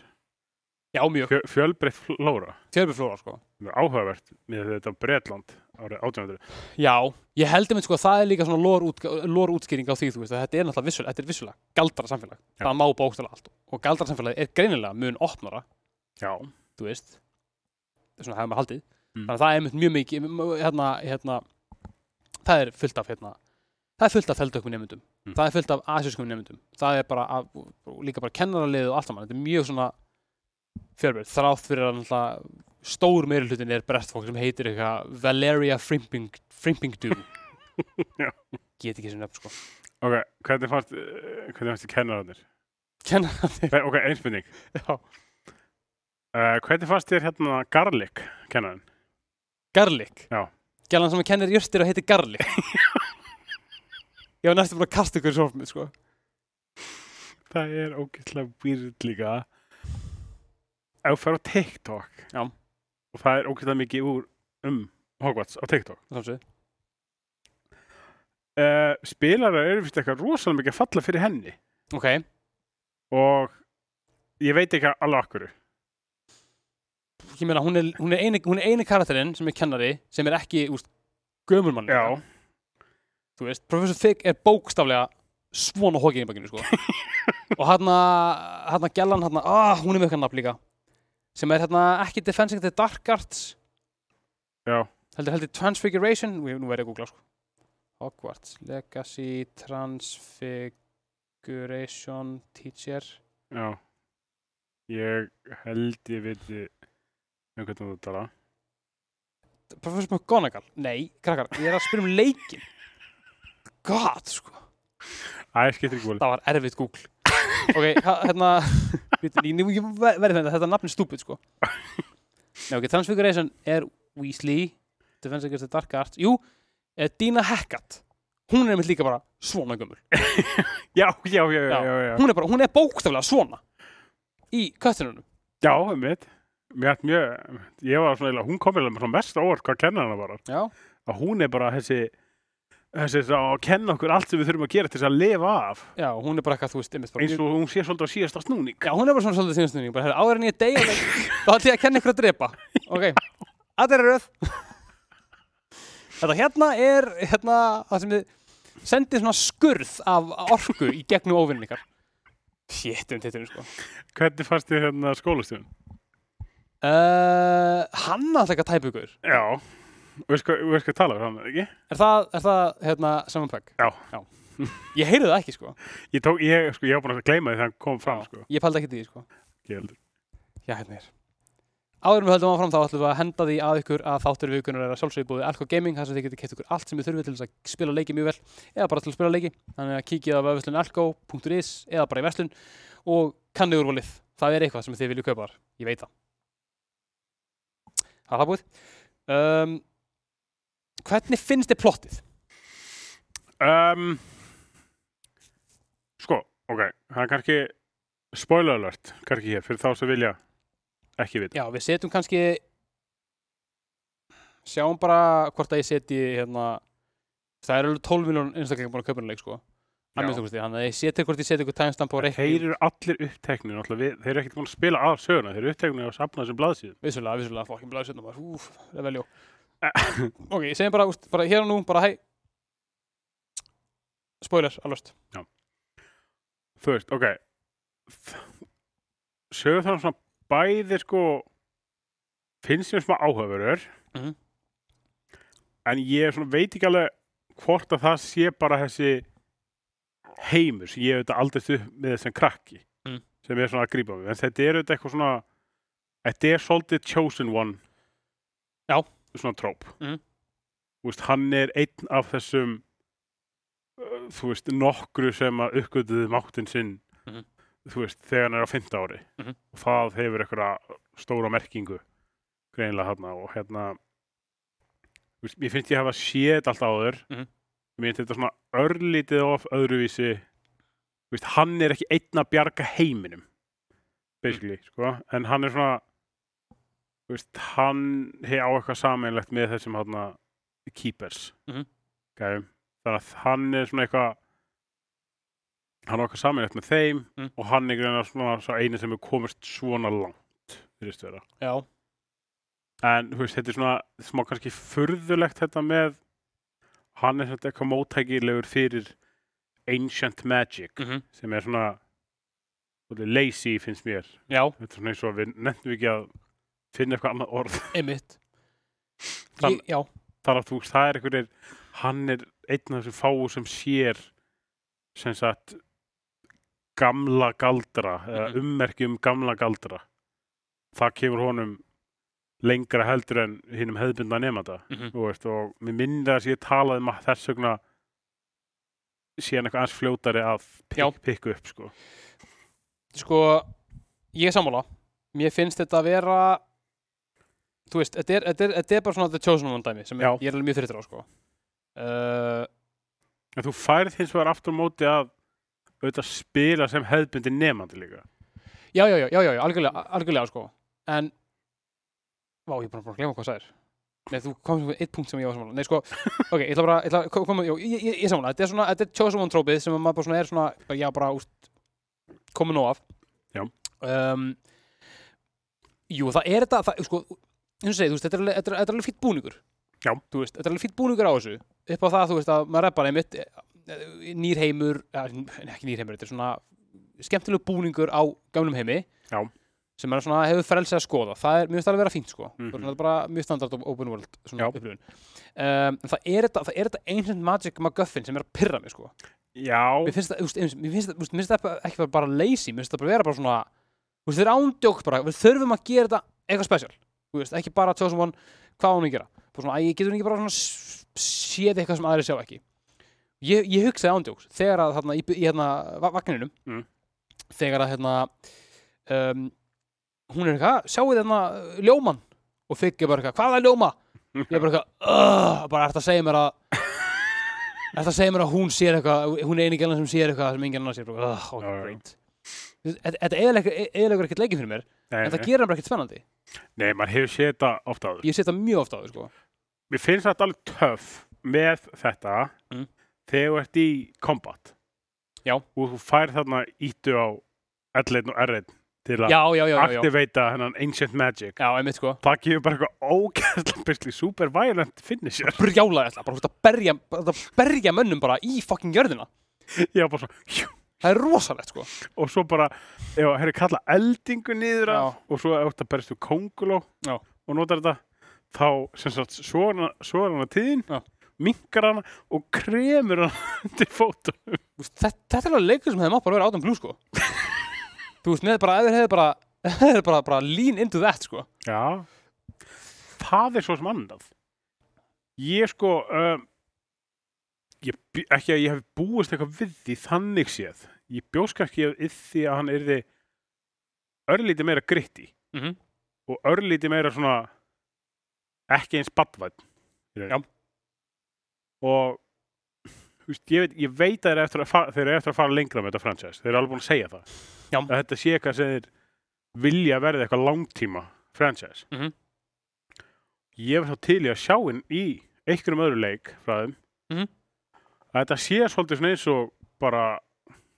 já mjög, Fjö, fjölbreytt flóra. fjörfjörflóra sko Mjög áhugavert með þetta Bretland árið 1800. já, ég heldur mig sko að það er líka svona lór, út, lór útskýring á því þú veist að þetta er náttúrulega vissulega, þetta er vissulega galdra samfélag Já. það má bókstala allt og galdra samfélag er greinilega mun opnara Já. þú veist svona hefur maður haldið Mm. þannig að það er einmitt mjög mikið m- m- hérna, hérna, það er fullt af hérna, það er fullt af feldökkum nefndum Mm. það er fullt af asískum nefndum það er bara af, og líka bara kennaralið og allt saman þetta er mjög svona fjörbreytt þrátt fyrir að náttúrulega stór meiri hlutin er brest fólk sem heitir eitthvað Valeria Frimping, Frimpingdú Já. get ekki sem nefn sko Ok, hvernig fannst, eh, hvernig fannst þið kennararnir? kennaralið Fe- Ok, einspurning. já. Uh, hvernig fannst þér hérna Garlic kennarinn? Garlic Já. Gjallan sem kennir jörtir og heitir Garlic Ég var næstu búin að kasta ykkur í sorfmið sko Það er ógeðslega weird líka ef þú fer á TikTok Já. og það er ógeðslega mikið úr um Hogwarts á TikTok Samsvið uh, spilarar eru fyrst eitthvað rosalega mikið að falla fyrir henni Ok, og ég veit ekki alveg akkur ég meina hún er, hún er, eini, hún er eini karakterinn sem er kennari sem er ekki úst, gömulmann Já, Þú veist, Professor Fig er bókstaflega svona hókið í bakinu sko og hérna, hérna Gjallan hérna, ah, hún er með eitthvað nafn líka sem er hérna ekki Defensing the Dark Arts já, heldur heldur Transfiguration Við, nú verður ég að googla sko Hogwarts Legacy Transfiguration Teacher já ég held ég viti um hvernig þú tala Professor McGonagall nei, krakkar, ég er að spyrja um leikin God, sko Æ, skiptir ekki voli það var erfitt Google ok, ha- hérna bíddu, ég, nú- ég ver- verði þetta, þetta nafn er stúpid sko nei, ok, Transfiguration er Weasley Defense Against the Dark Arts jú, eh, Dina Hackett hún er einmitt líka bara svona gömul Já, já, já, já, Já. já, já, hún er bara, hún er bókstaflega svona í köttinunum já, um mitt Mér hætt mjög, ég var svona, eiginlega- hún kom vel með svona mest á óvart hvað kennarinn var já, að hún er bara þessi þessi þess að kenna okkur allt sem við þurfum að gera til þess að lifa af Já, og hún er bara eitthvað, þú veist, einmitt bara eins og hún sé svolítið á síðasta snúning Já, hún er bara svona svolítið síðanstunning, bara "Heyrðu, áður en ég deyja leik, þá ætti ég að kenna ykkur að drepa. Ok, allir er röð. Þetta hérna er hérna það sem þið sendið svona skurð af orku í gegnum óvinnin ykkar. Sétt um tittunum, sko. hvernig fannst þið hérna skólastjóðun? Uh, hann alltaf ekki að tæpa ykkur. Já, við sko að tala um það ekki? Er það, er það hérna, Simon Pegg? Já. Já. Ég heyrði það ekki, sko. Ég, tók, ég, sko, ég var búin að gleyma því þegar hann kom fram sko. Ég pældi ekki því, sko. Ég heldur. Já, hérna er. Áður en við höldum áfram þá ætlum við að henda því að ykkur að þáttur vikunar er að sjálfsögðu búið Alko Gaming þar sem þið getur keitt ykkur allt sem þið þurfið til þess að spila leiki mjög vel eða bara til að spila leiki þannig að kíkið á vefslun alko.is eða bara í verslun og kannið úrvalið það er eitthvað sem þið viljið kaupa þar ég veit það Það er það búið um, Hvernig finnst þið plottið? Um, sko, ok, það er kannski spoiler alert, kannski hér, fyrir þá sem vilja ekki vita. Já, við setjum kannski sjáum bara hvort að ég setji hérna það er alveg 12 miljón einstaklega búin að kaupa hennar leik sko að Já. minnst okkur því, þannig að ég setja hvort ég setja ykkur tæmstamp á Þeir reikning, eru allir uppteknir, náttúrulega við, þeir eru ekkert búin að spila af söguna, þeir eru uppteknir að safna þessum blaðsíðum. vissulega, vissulega fokkin blæði setna maður, úf, það er veljó Eh. ok, ég segjum bara, úst, bara hér og nú, bara hæ spoiler, alvöst Þú veist, ok, sögur þannig svona bæði sko, finnst mér smá áhugaverður, Mhm. en ég svona veit ekki alveg hvort að það sé bara þessi heimur sem ég hef auðvitað aldrei stuð með þessum krakki Mm. sem er svona að grípa mig en þetta er auðvitað eitthvað svona þetta er svolítið chosen one Já. svona tróp Mhm. þú veist, hann er einn af þessum uh, þú veist, nokkru sem að uppgötuðu máttinn sinn Mhm. þú veist, þegar hann er á 15 ári Mhm. og það hefur eitthvað stóra merkingu greinilega hérna og hérna þú veist, mér finnst ég hafa séð þetta allt áður Mhm. mér finnst þetta svona örlítið of öðruvísi þú veist, hann er ekki einn að bjarga heiminum basically, Mhm. sko en hann er svona þú veist, hann hef á eitthvað sameinlegt með þessum hérna keepers Mhm. gæfum þannig að hann er svona eitthvað hann á eitthvað sameinlegt með þeim Mm. og hann er greinilega svona svo eini sem er komist svona langt fyrir stöðra já, en þú veist, þetta er svona smá kannski furðulegt þetta með hann er þetta eitthvað móttækilegur fyrir Ancient Magic Mm. sem er svona svolítið lazy finnst mér já, þetta er svona eins og við nefnum ekki að finna eitthvað annað orð einmitt Þann- ég, já, þar að þú veist, það er einhverjir hann er einn af þessu fáu sem sér sem sagt gamla galdra Mhm. eða ummerki um gamla galdra það kemur honum lengra heldur en hinnum hefðbunda nefnda mhm, þú veist, og mér minnir að ég talaði um að þess vegna síðan eitthvað aðeins fljótari að Já. pikk, pikku upp, sko. sko ég er sammála, mér finnst þetta að vera þú veist, þetta er, þetta er, þetta er bara svona the chosen one dæmi sem Já. ég er alveg mjög þreytur á sko uh, En þú færð hins vegar aftur á móti að auðvitað spila sem hefðbundi nefandi líka. Já, já, já, já, já, já, algjörlega, algjörlega sko En Vá, ég er bara búin að glemma hvað það er Nei, þú komst með eitt punkt sem ég var samanlega Nei, sko, ok, ég ætla bara, ég ætla að ko- koma Jó, ég, ég, ég samanlega, þetta er svona, þetta er chosen one trópið sem maður bara svona er svona, bara, já, bara úst, komin nóg af Já. um, Jú, það er þetta, það, sko eins og segi, þú veist, þetta er, alveg- þetta er, þetta er alveg fýtt búningur Já. Þú veist, þetta er alveg fýtt búningur á þessu upp á það, þú veist, að maður er bara einmitt eh, eh, nýr heimur, eh, ekki nýr heimur þetta er svona skemmtilegu búningur á gamlum heimi Já. sem er svona hefur frelsið að skoða það er mjög stærlega vera fínt sko mm Mhm. -hmm. bara mjög standard og open world svona Já. upplifun um, en það er þetta það er þetta Ancient Magic MacGuffin sem er að pyrra mig sko Já, mér finnst það, þú veist, eins- mér finnst það, þú veist, mér finnst það ekki bara- bara lazy, mér finnst það bara vera bara svona þú veist, þeir ándjók bara, við þurfum að gera þetta eitthvað special, þú veist, ekki bara chosen one, hvað á hún að gera, bara svona, æ, ég getur ekki bara svona s- séð eitthvað sem aðri sjá ekki ég, ég hugsaði ándjóks þegar að þarna, í, í hérna va- vagninum Mm. þegar að hérna um, hún er eitthvað, "Ah, sjáu þarna ljóman uh, og þig er bara eitthvað, hvað er ljóma? ég er bara eitthvað uh, bara ert að segja mér að ert að segja mér að hún sér eitthvað hún er eini gælan sem sér eitthvað sem engin annar sér uh, ok, Já, já, já. great Þetta- þetta eðilegur ekkert leikið fyrir mér nei, en það nei. gerir hann bara ekkert spennandi nei, maður hefur séð þetta ofta áður. ég setja mjög ofta á þau sko Mér finnst þetta alveg töff með þetta Mm. þegar þú ert í combat Já. og þú fær þarna íttu á L1 og R1 til að já, já, já, já, já, aktiveita hennan Ancient Magic já einmitt sko það gefur bara eitthvað ógæðslega byrjli super violent finisher brjálaði alltaf, bara þú ert að berja, bara, þú ert að berja mönnum bara í fucking jörðina Já, bara svona, hjú, það er rosalegt sko og svo bara já, herri kalla eldingu Já. niður af og svo eftir að berist þú konguló Já. og notar þetta þá sem sagt svona, svona tíðin Já. minkar hana og kremur hana til fótum Þú veist, þetta, þetta er alveg leikur sem hefði mátt bara vera átum blú sko þú veist, með bara, ef þeir hefði bara ef þeir hefði bara, bara lean into that sko Já, það er svo sem annað. Ég sko, um, ég, bý- ekki að ég hef búist eitthvað við því þannig séð. Ég bjóst kannski að því að hann yrði örlítið meira gritti mm -hmm. og örlítið meira svona ekki eins badvætt. Já. Og þú veist, ég, veit, ég veit að þeir eru eftir að fara, þeir eru eftir að fara lengra með þetta franchise. Þeir eru alveg búin að segja það. Já. Að þetta sé eitthvað sem þeir vilja verði eitthvað langtíma franchise. Mhm. Ég verð þá til í að sjá inn í einhverjum öðru leik frá þeim. Mhm. Að þetta sé svolítið svona eins og bara,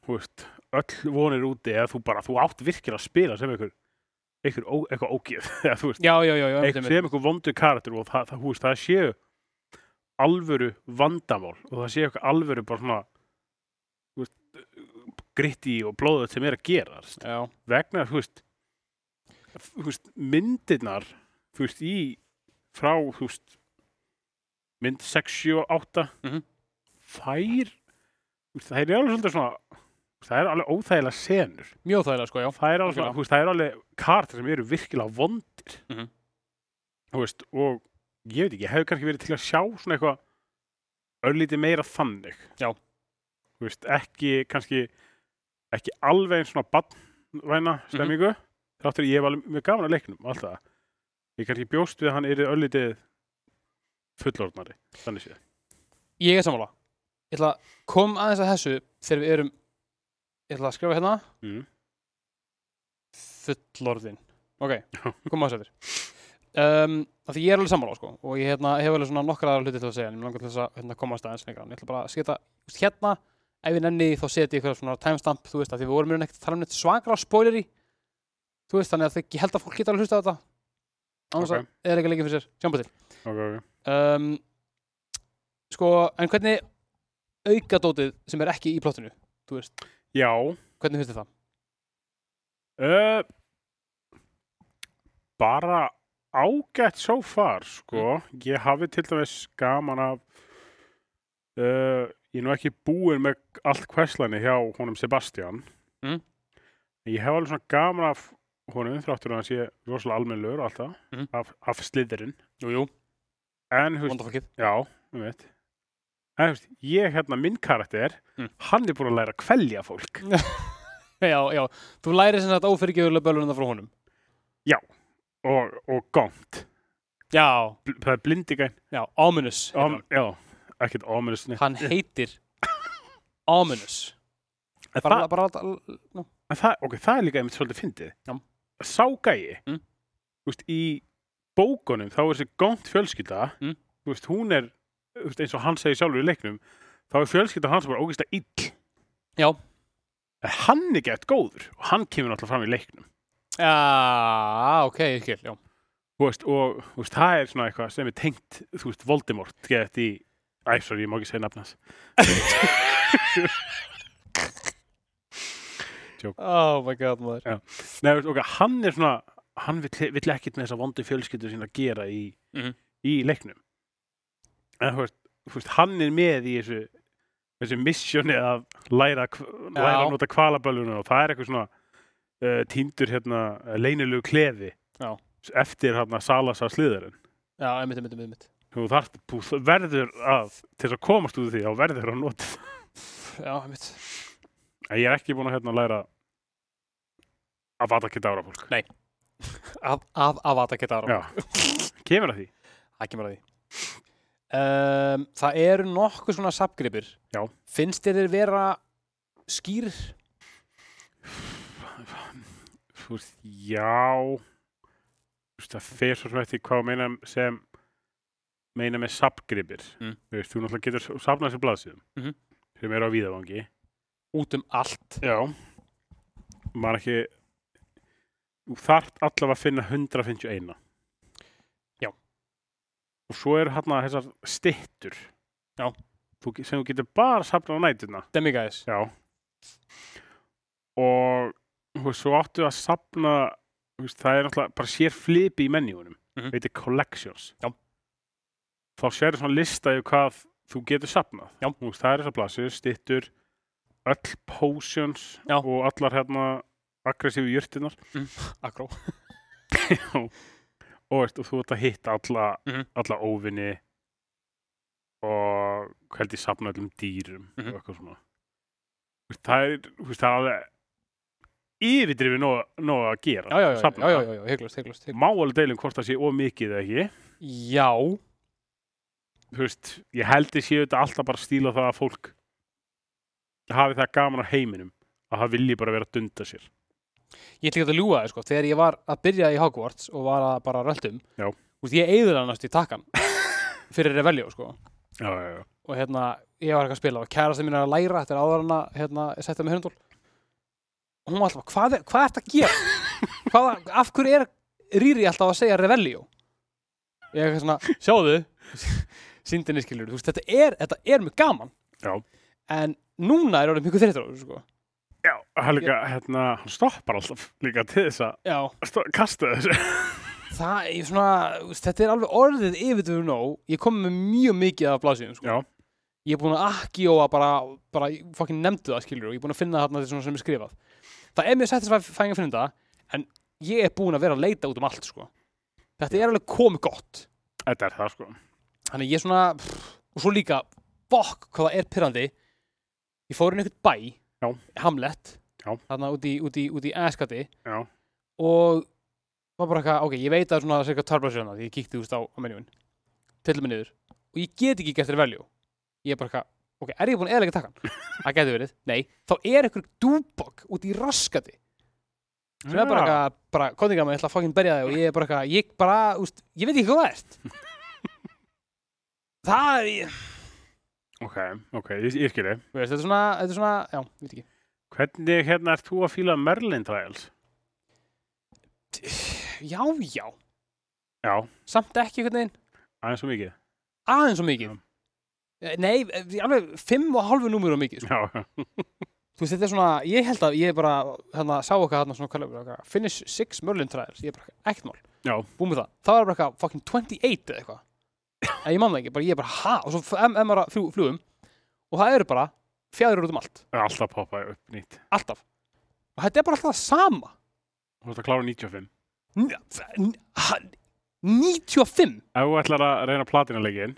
þú veist, öll vonir úti eða þú bara, þú átt virkilega að spila sem einhver, einhver ó, eitthvað ógið. eða þú veist, já, já, já, já, einmitt, eitthvað einmitt. sem einhver vondu karakter og það, það, húst, það séu alvöru vandamál og það séu eitthvað alvöru bara svona þú veist, gritti og blóðut sem er að gera þú veist. já, vegna þú veist, þú veist, myndirnar þú veist, í frá þú veist, mynd 6, 7 og 8 Mhm. þær þú veist, þær er alveg svolítið svona það er alveg óþægilega senur mjög þægilega sko, já það er alveg, Algjörlega. svona, þú veist, það er alveg kartar sem eru virkilega vondir Mhm. þú veist, og ég veit ekki, ég hefði kannski verið til að sjá svona eitthvað örlítið meira þannig Já. þú veist, ekki kannski ekki alveg eins svona bannvæna Mhm. stemmingu þáttur ég hef alveg mjög gaman að leiknum alltaf, ég kannski bjóst við að hann er örlítið fullorðnari þannig séð, ég er sammála ég ætla að kom aðeins að þessu þegar við erum ég ætla að skrifa hérna Mhm. fullorðin ok, kom aðeins að þér um, af því ég er alveg sammála sko og ég hérna, hef alveg svona nokkra aðra hluti til að segja en ég langar til þess að hérna, komast aðeins lengra En ég ætla bara að setja þú veist, hérna ef ég nenni þá setja ég eitthvað svona timestamp þú veist að því við vorum í raun ekkert að tala um neitt svangra spoileri þú veist þannig að þau- ég held að fólk geta alveg hlusta á þetta annars Ok. okay. að eða ekki leikið fyrir sér, sjáum bara til ok, ok um, sko, en hvernig aukadótið sem er ekki í plottinu þú veist, já, hvernig finnst þér það? Uh, bara ágætt so far, sko. Mm. Ég hafi til dæmis gaman af uh, ég er nú ekki búinn með allt hverslani hjá honum Sebastian. Mm. Ég hef alveg svona gaman af honum þráttur að hann sé rosalega almennlegur og allt það, Mhm. af, af sliðurinn. Jú, jú, En, þú veist, vondafólkið já, um veit. En, þú veist, ég, hérna, minn karakter, Mm. hann er búinn að læra að kvelja fólk. Já, já, þú lærir sem þetta ófyrirgefulega bölunum frá honum Og, og gongt. Já, Bl það er blindigæn. já, Ominous Hérna. heitir Om, já, ekkert ominous neitt. hann. hann heitir Ominous En bara, það, bara, bara, no. en það, ok, það er líka einmitt svolítið fyndið. Já. Ságæi, Mm. þú veist, í bókunum þá er þessi gónt fjölskylda, Mm. þú veist, hún er, þú veist, eins og hann segir sjálfur í leiknum, þá er fjölskylda hans bara ógeðslega ill. Já. En hann er gett góður og hann kemur náttúrulega fram í leiknum. Já, ok, ég skil, já Þú veist, og þú veist, það er svona eitthvað sem er tengt, þú veist, Voldemort gett í, æ, sorry, ég má ekki segja nafnans. Oh my god, maður Nei, veist, ok, hann er svona hann vill, vill ekkert með þessa vondu fjölskyldu sína að gera í, Mhm. í leiknum en þú veist, þú veist, hann er með í þessu þessu missjóni að læra, hv- læra Já. að nota kvalaböluna og það er eitthvað svona uh, týndur hérna leynilegu klefi Já. eftir hérna Salasa sliðarinn Já, einmitt, einmitt, einmitt þú þarft, þú verður að til þess að komast út úr því, þá verður að nota það Já, einmitt en ég er ekki búin að hérna læra að vata geta ára fólk Af, af, af að það geta ára Já. kemur að því Það kemur að því um, Það eru nokkuð svona sapgripir Já. Finnst þér þeir vera skýr? þú veist, já þú veist, það fer svo sem eftir hvað að meina sem meina með sapgripir Mm. þú veist, þú náttúrulega getur sapnað sér blaðsíðum Mhm. sem eru á víðavangi út um allt já maður ekki þú þarft allavega að finna 151 Já. og svo eru hérna þessar styttur Já. þú, ge- sem þú getur bara sapnað á nætuna demigæðis Já og þú veist, svo áttu að safna þú veist, það er náttúrulega bara sér flipi í menjúunum Mhm. veitir collections Já. þá sérðu svona lista yfir hvað þú getur safnað Já. Þú veist, það er þess að blasir, stittur öll potions Já. og allar hérna aggressífu jurtinar akró og, veist, og þú ert að hitta alla, Mhm. alla óvinni og held ég safna öllum dýrum Mhm. og eitthvað svona Þú veist, það er, þú veist, það er alveg yfirdrifið nóg, nóg að gera já, já, já, safna já, já, það. já, já, heiklust, heiklust, heiklust. má alveg deilum hvort það sé of mikið eða ekki já, þú veist, ég held ég séu þetta alltaf bara að stíla það að fólk hafi það gaman á heiminum að það vilji bara vera að dunda sér ég ætla ekki að ljúga þér sko þegar ég var að byrja í Hogwarts og var að bara röldum Já. úst, ég eigður hann næst í takkan fyrir Revelio sko já, já, já. og hérna, ég var eitthvað að spila og kærastinn mín er að læra þetta er áður hann að hérna, setja mig hundul og hún var alltaf, bara, hvað, er, hvað ertu að gera? Hvaða, af hverju er Riri alltaf að segja Revelio? Ég er eitthvað svona, sjáðu síndinni skilur, þú veist, þetta er, þetta er mjög gaman Já. en núna er orðið mjög þreytur á þessu sko já hann, líka, hérna, hann stoppar alltaf líka til þess að Já, sto- kasta þessu það er svona, þú veist, þetta er alveg orðið yfirtöfu nóg, ég kom með mjög mikið af blásíðum, sko. Já. Ég er búin að akkióa bara, bara, ég fucking nefndu það, skilur, og ég er búin að finna þarna til svona sem er skrifað. Það er mjög sættis að fæða að finna það, en ég er búin að vera að leita út um allt, sko. Þetta er alveg komið gott. þetta er það sko Þannig ég er svona, pff, og svo líka, bokk, hvað það er pyrrandi. Ég fór inn í einhvern bæ, Já. Hamlet, Já. þarna út í, út í, út í Eskati, já og var bara eitthvað, ok, ég veit að svona cirka törblasjóna því ég kíkti úst á, á menjúin til mig niður og ég get ekki gert þér veljú ég er bara eitthvað, ok, er ég búin að eðlega takkan? það geti verið, nei, þá er einhver dúbok út í raskati sem er bara Já. eitthvað, bara, kondingar maður, ég ætla að fokkin berja þig og ég er bara eitthvað, ég bara, úst, ég veit ekki hvað það ert það er, ég- Ok, ok, ég, ég skilji. þú veist, þetta er svona, þetta er svona, já, ég veit ekki Hvernig hérna ert þú að fíla Merlin Trials? já, já, Já, samt ekki einhvern veginn aðeins og mikið. aðeins og mikið Eh, Nei, eh, alveg fimm og halvu númur og mikið sko. Já, já. Þú veist, þetta er svona, ég held að ég bara hérna, sá okkar hérna svona, hvað er það, finish six Merlin trials, ég er bara ekkert mál Já. Búið með það, það var bara eitthvað fucking 28 eða eitthvað En ég man það ekki, bara ég er bara ha og svo f- em- em er að fljú, flugum og það eru bara fjæður út um allt, Það er alltaf poppaði upp nýtt. alltaf og þetta er bara alltaf það sama Þú ert að klára 95. N- f- n- ha- 95 Ef þú ætlar að reyna platinalegin,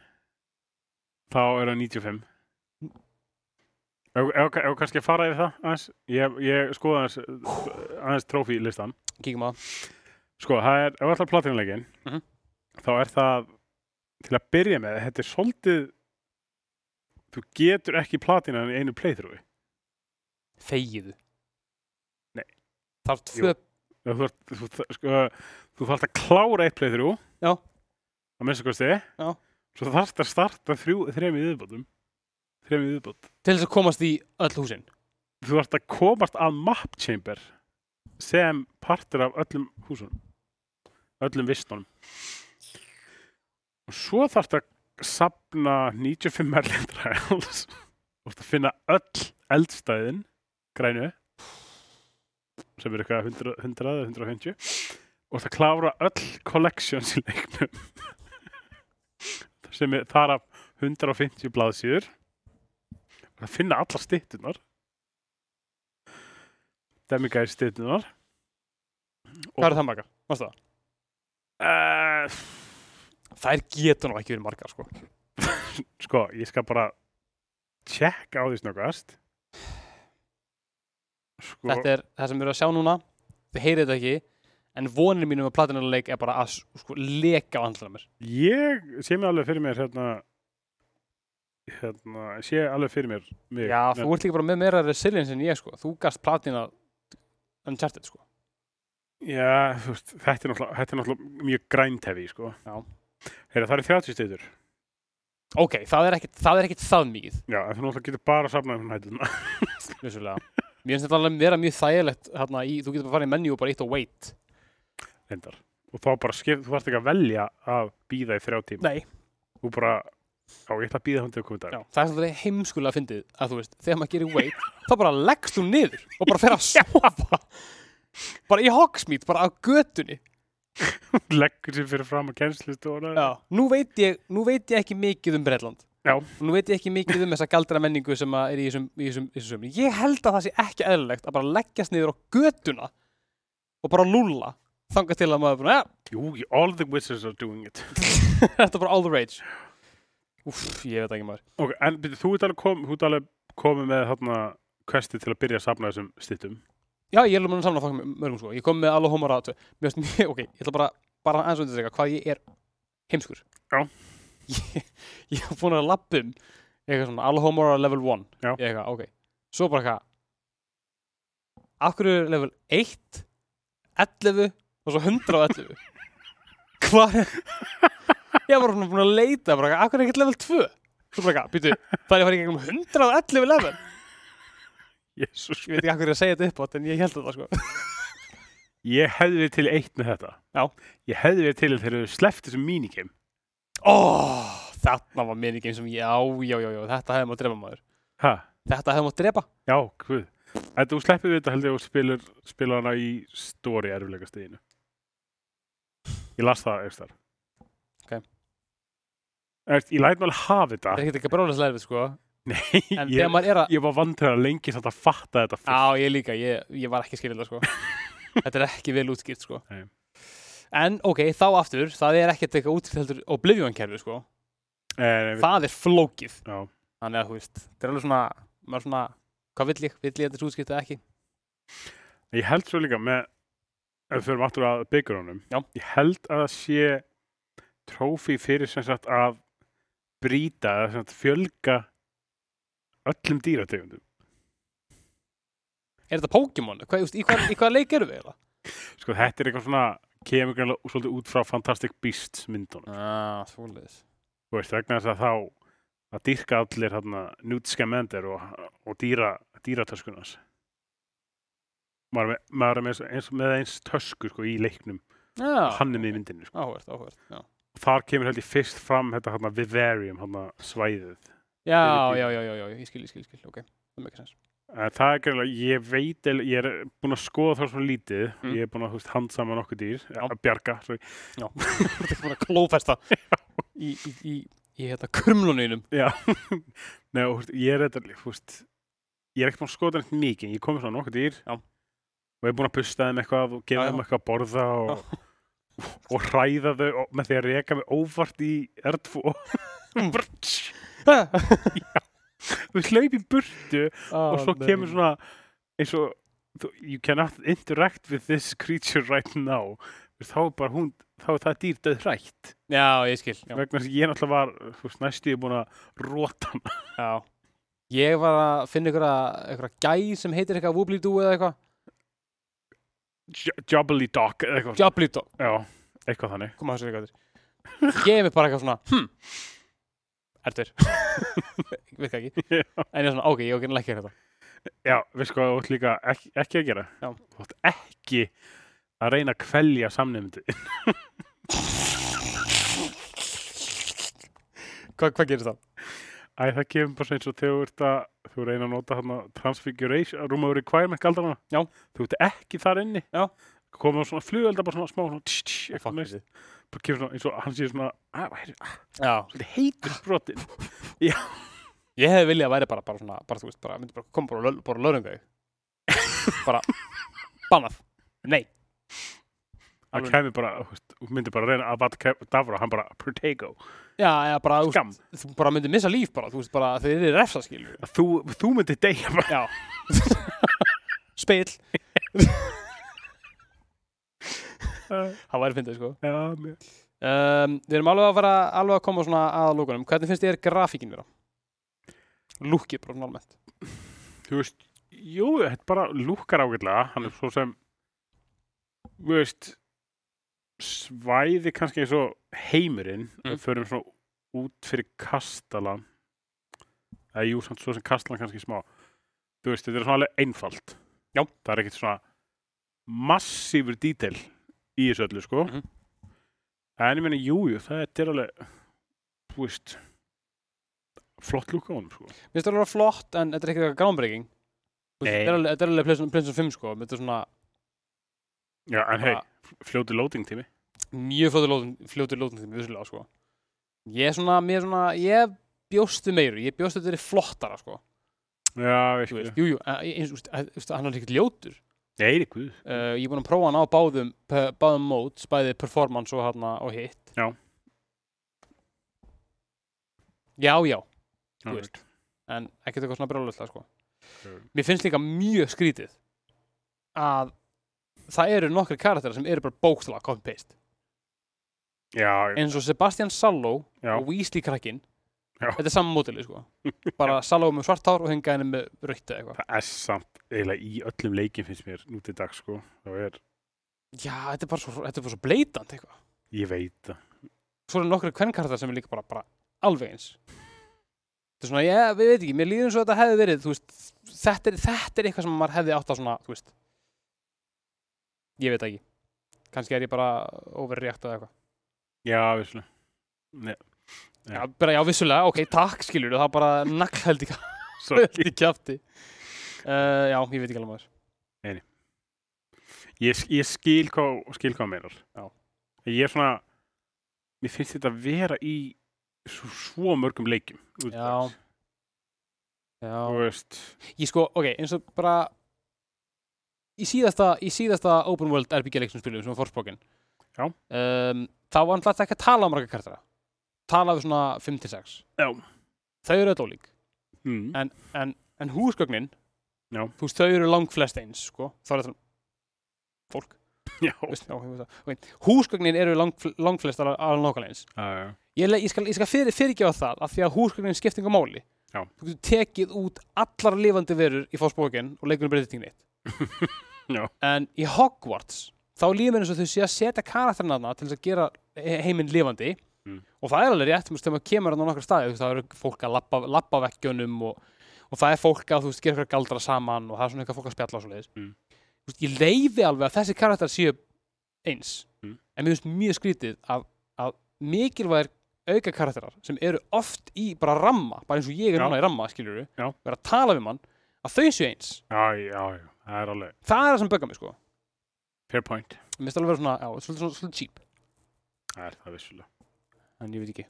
þá er það 95. Ef ef- ef þú kannski að fara yfir það aðeins, ég, ég skoða aðeins, aðeins trófílistan. Kíkjum á það, Sko, það er, ef þú ætlar að platinalegin, Mhm. þá er það, til að byrja með, þetta er svolítið, þú getur ekki platinan í einu playthrough. þegiðu Nei. Þarf tvö, Já, þú, ert, þú, þú- sko, þú þarft að klára eitt play þrjú Já. að minnstu kosti Já. svo þarft að starta þrjú, þremi viðbótum þremi viðbót til þess að komast í öll húsin þú þarft að komast að map chamber sem partur af öllum húsunum öllum vistunum og svo þarft að sapna 95 merlin trials og þarft að finna öll eldstæðin grænu sem er eitthvað 100, 100 eða 150 og það klára öll collections í leiknum sem er þar af 150 blaðsýður og það finna allar styttunar demigæri styttunar Hvað er það margar? Varstu það? uh, Þær geta nú ekki verið margar sko sko, ég skal bara tjekka á því snöggast sko, Þetta er það sem við erum að sjá núna Þið heyrið þetta ekki En vonir mínum að platinuleik er bara að s- sko, leka á andlunum mér ég sé mér alveg fyrir mér hérna hérna, sé alveg fyrir mér mig, Já, með- þú ert líka bara með meira resilience en ég sko Þú gast platina Uncharted sko Já, þú veist, þetta er náttúrulega, þetta er náttúrulega mjög græntefi, sko. Já. Heyrðu, það eru 30 steytur. ok, það er ekkit það, er ekkit það mikið, Já, en þú náttúrulega getur bara að safna um hættuna. vissulega mér finnst þetta alveg vera mjög þægilegt hérna, í, þú getur bara að fara í menu og bara eitt og wait Reyndar. Og þá bara skip, þú varst ekki að velja að býða í þrjá tíma. nei, Þú bara, á ég ætla að býða hundið að koma í dag. Já, það er svolítið heimskulega fyndið að þú veist, þegar maður gerir wait þá bara leggst þú niður og bara fer að sofa bara í hogsmít, bara á götunni leggur sér fyrir fram á kennslustofuna Já. Nú, veit ég, nú veit ég ekki mikið um Bretland Já. og nú veit ég ekki mikið um þessa galdra menningu sem að er í þessum, í þessum, í þessum sömni. ég held að það sé ekki eðlilegt að bara leggjast niður á götuna og bara lúlla þangað til að maður er búin að, Jú, all the wizards are doing it ja, þetta er bara all the rage Úff, ég veit ekki maður Ok, en byrju, þú ert alveg, kom, þú ert alveg komið með þarna questi til að byrja að safna þessum stittum Já, ég er alveg mun að samla fólk með mörgum sko. Ég kom með alveg homara tvö. Mér finnst mjög, ok, ég ætla bara, bara aðeins að þetta hvað ég er heimskur. Já. Ég, ég hef búin að lappum eitthvað svona, alveg homara level 1. Já. Ég eitthvað, ok. Svo bara eitthvað, af hverju er level 1, 11 og svo 111? hvað er, ég var bara búin að leita, bara eitthvað, af hverju er ekkert level 2? Svo bara eitthvað, býtu, það er ég að fara í gegnum 111 level? Jesus. Ég veit ekki af hverju ég er að segja þetta upp átt, en ég held þetta sko. Ég hefði verið til eitt með þetta Já. Ég Hefði verið til þegar þau sleppt þessum minigame Oh, þarna var minigame sem ég, já, já, já, já, þetta hefði maður drepa maður. Ha? Þetta hefði maður drepa. Já, hvað? Þetta þú sleppið við þetta held ég og spilur spila hana í stóri erfilega steginu Ég las það eftir þar Ok. Eftir, Ég læt maður hafa þetta Það er ekkert ekki brálega slæðið, sko. Nei, En þegar ég, maður er að, ég var vandræða lengi samt að fatta þetta fyrst. já, ég líka, ég, ég var ekki skilin það, sko. þetta er ekki vel útskipt, sko. Nei. En, ok, þá aftur, það er ekkert eitthvað útskipt heldur Oblivion-kerfi, sko. Eh, nei, Það er flókið. Já. Þannig að, þú veist, þetta er alveg svona, maður er svona, hvað vill ég, vill ég þetta útskipt eða ekki? Ég held svo líka með ef við förum aftur að byggjurunum Já. ég held að það sé trófi fyrir sem sagt að brýta eða sem sagt fjölga öllum dýrategundum Er þetta Pokémon? Hvað, þú veist, í hvað, í hvað leik eru við, eða? sko þetta er eitthvað svona kemur greinlega svolítið út frá Fantastic Beasts myndunum Ah, svoleiðis. þú veist vegna þess að þá að dýrka allir hérna Newt Scamander og, og dýra, dýratöskunars maður, er með- maður er með eins, eins, með eins tösku sko í leiknum Já, hann er með í myndinni sko. áhvert, áhvert, já. þar kemur held ég fyrst fram þetta hérna Vivarium, hérna svæðið Já, Fyrir já, já, já, já, ég skil, ég skil, ég skil, ok, það með ekki sens. en Eh, það er greinlega, ég veit eiginlega- ég er búin að skoða þá svona lítið Mm. ég er búin að þú veist, handsama nokkuð dýr að bjarga, sorry Þú ert ekki búin að klófesta í, í, í, í hérna krumlunum. Já. Nei, og, þú veist, ég er þetta þú veist, ég er ekki búin að skoða neitt mikið ég komið svona nokkuð dýr Já. og ég er búin að busta þeim eitthvað og Já, gefa já. þeim eitthvað að borða og, og hræða þau og, með því að reka mig óvart í R2 Brr, tss, við hlaup í burtu og svo kemur svona eins og þú- you cannot interact with this creature right now Þú veist, þá er bara hún þá er það dýr döð hrætt Já, ég skil, já, vegna þess að ég náttúrulega var þú veist, næstu ég búin að róta hann já. Ég var að finna ykkur að, ykkur að gæ sem heitir eitthvað Wooblidoo eða eitthvað. Jo- Jobbly Dog eða eitthvað, Joblidoo, já, eitthvað þannig koma þessu eitthvað þér. Ég er mér bara eitthvað svona, hm, ertur. Virka ekki. Já. En ég er svona, ok, ég er ekki að leggja þetta. já, veist hvað þú ætti líka ekki, ekki að gera Já. þú ætti ekki að reyna að kvelja samnefndi Hva, hvað gerist það? æ, það kemur bara eins og þegar þú ert að þú reyna að nota hann transfiguration room of requirement galdana Já. þú ert ekki þar inni Já. Ah, komum svona flugölda bara svona smá svona, tss, tss, Fuck eitthvað, it. bara kemur svona eins og hann sé svona "Ah, að væri Já, svolítið heitur Ah. brotin Ég hefði viljað að væri bara, bara svona, bara þú veist, bara, myndi bara koma bara og löl- bara löringa þig. bara, bannað. Nei. hann Alveg. kemur bara, þú veist, þú myndir bara reyna að vata davra, hann bara protego Já, já, bara, þú skam, veist, þú bara myndir missa líf bara, þú veist, bara, þeir eru refsa, skilur. þú, þú myndir deyja bara, Já. Speil. Það væri fyndið, sko. já, mér Um, við erum alveg að fara, alveg að koma svona að lókunum. Hvernig finnst þér grafíkin vera? Lúkið bara svona almennt. þú veist, jú, þetta bara lúkkar ágætlega, hann er svo sem þú veist svæði kannski eins og heimurinn, Mm. mm. förum svona út fyrir Kastalan eða jú, samt svo sem Kastalan kannski smá þú veist, þetta er svona alveg einfalt já, það er ekkert svona massífur dítel í þessu öllu, sko Mhm. en ég meina, jú, jú, það er alveg þú veist flott lúka á honum, sko Mér finnst það alveg flott en þetta er ekki eitthvað groundbreaking Þú veist, Nei. Þetta er alveg- þetta er alveg Prince- Prince of 5 sko Þetta er svona já, en hei, bara fljótu loading tími mjög fljótur lótum, fljótur lótum þeim vissulega sko Ég er svona, mér er svona, ég bjóstu meiru Ég bjóstu þetta er flottara sko já, ég Þú skilja, veist, Jú, jú, en- ég- eins og þú veist, að- þú veist, hann er ekkert ljótur nei, guð uh, Ég er búin að prófa hann á báðum pe- báðum móts, bæði performance og hérna og hitt Já. Já, já, Já, þú ég veist en ekkert eitthvað svona brjóðlega sko skil. Mér finnst líka mjög skrítið að það eru nokkri karakterar sem eru bara bókstala copy-paste já, já, eins og Sebastian Salló já, og Weasley krakkinn Já. þetta er saman mótili sko bara Salló með svart hár og hengaðinu með rautt eða eitthvað það er samt eiginlega í öllum leikin finnst mér nú til dag sko þá er, Já, þetta er bara svo, þetta er bara svo bleitand eitthvað ég veit það Svo eru nokkri kvennkarakterar sem er líka bara, bara alveg eins Þetta er svona, ég við veit ekki, mér líður eins og þetta hefði verið þú veist, þetta er, þetta er eitthvað sem maður hefði átt að svona, þú veist Ég veit það ekki Kannski er ég bara overreaktað eða eitthvað já, visslega Já. Já, bara, já, vissulega, ok, takk, skilur það bara naglhældi Sorry. í kjafti uh, Já, ég veit ekki alveg maður ég, sk- ég skil hvað skil hvað meinar Já. ég er svona mér finnst þetta vera í svo, svo mörgum leikjum nú til Já. dags. Já, þú veist ég sko, ok, eins og bara í síðasta, í síðasta open world RPG leiksum spilum sem var Forspoken Já. um, Þá var hann alltaf ekki að tala um marga kartara Tala við svona 5-6 já, Þau eru öll ólík mm. En, en, en húsgögnin Já. Þú veist, þau eru langflest eins, sko Þá er þetta fólk já. veist, já, ég veit það. okay. Húsgögnin eru lang, langflest alveg nákvæmlega eins Já, já. Ég, le- ég skal, ég skal fyrir, fyrirgefa það af því að húsgögnin skiptinga máli. Já. Þú getur tekið út allar lifandi verur í fórspókin og um leikunum breytið tíknið. Já. En í Hogwarts, þá líður mér eins og þau sé að setja karakterinn aðna til þess að gera he- heiminn lifandi Mm. og það er alveg rétt, þú veist, þegar maður kemur hann á nokkra staði, þú veist, það eru fólk að labba, labba vekkjunum og, og það er fólk að, þú veist, gera eitthvað galdra saman og það er svona eitthvað fólk að spjalla og svo leiðis. Mm. Þú veist, ég leifi alveg að þessi karakter séu eins, Mm. en mér finnst mjög skrítið að, að mikilvægir auka karakterar sem eru oft í bara ramma, bara eins og ég er Já. núna í ramma skiljur Já. vera að tala við mann að þau séu eins, já, já, já, það er alveg það er það sem böggar mig sko fair point mér finnst alveg vera svona, já, svolítið svona, svolítið cheap það er það vissulega en ég veit ekki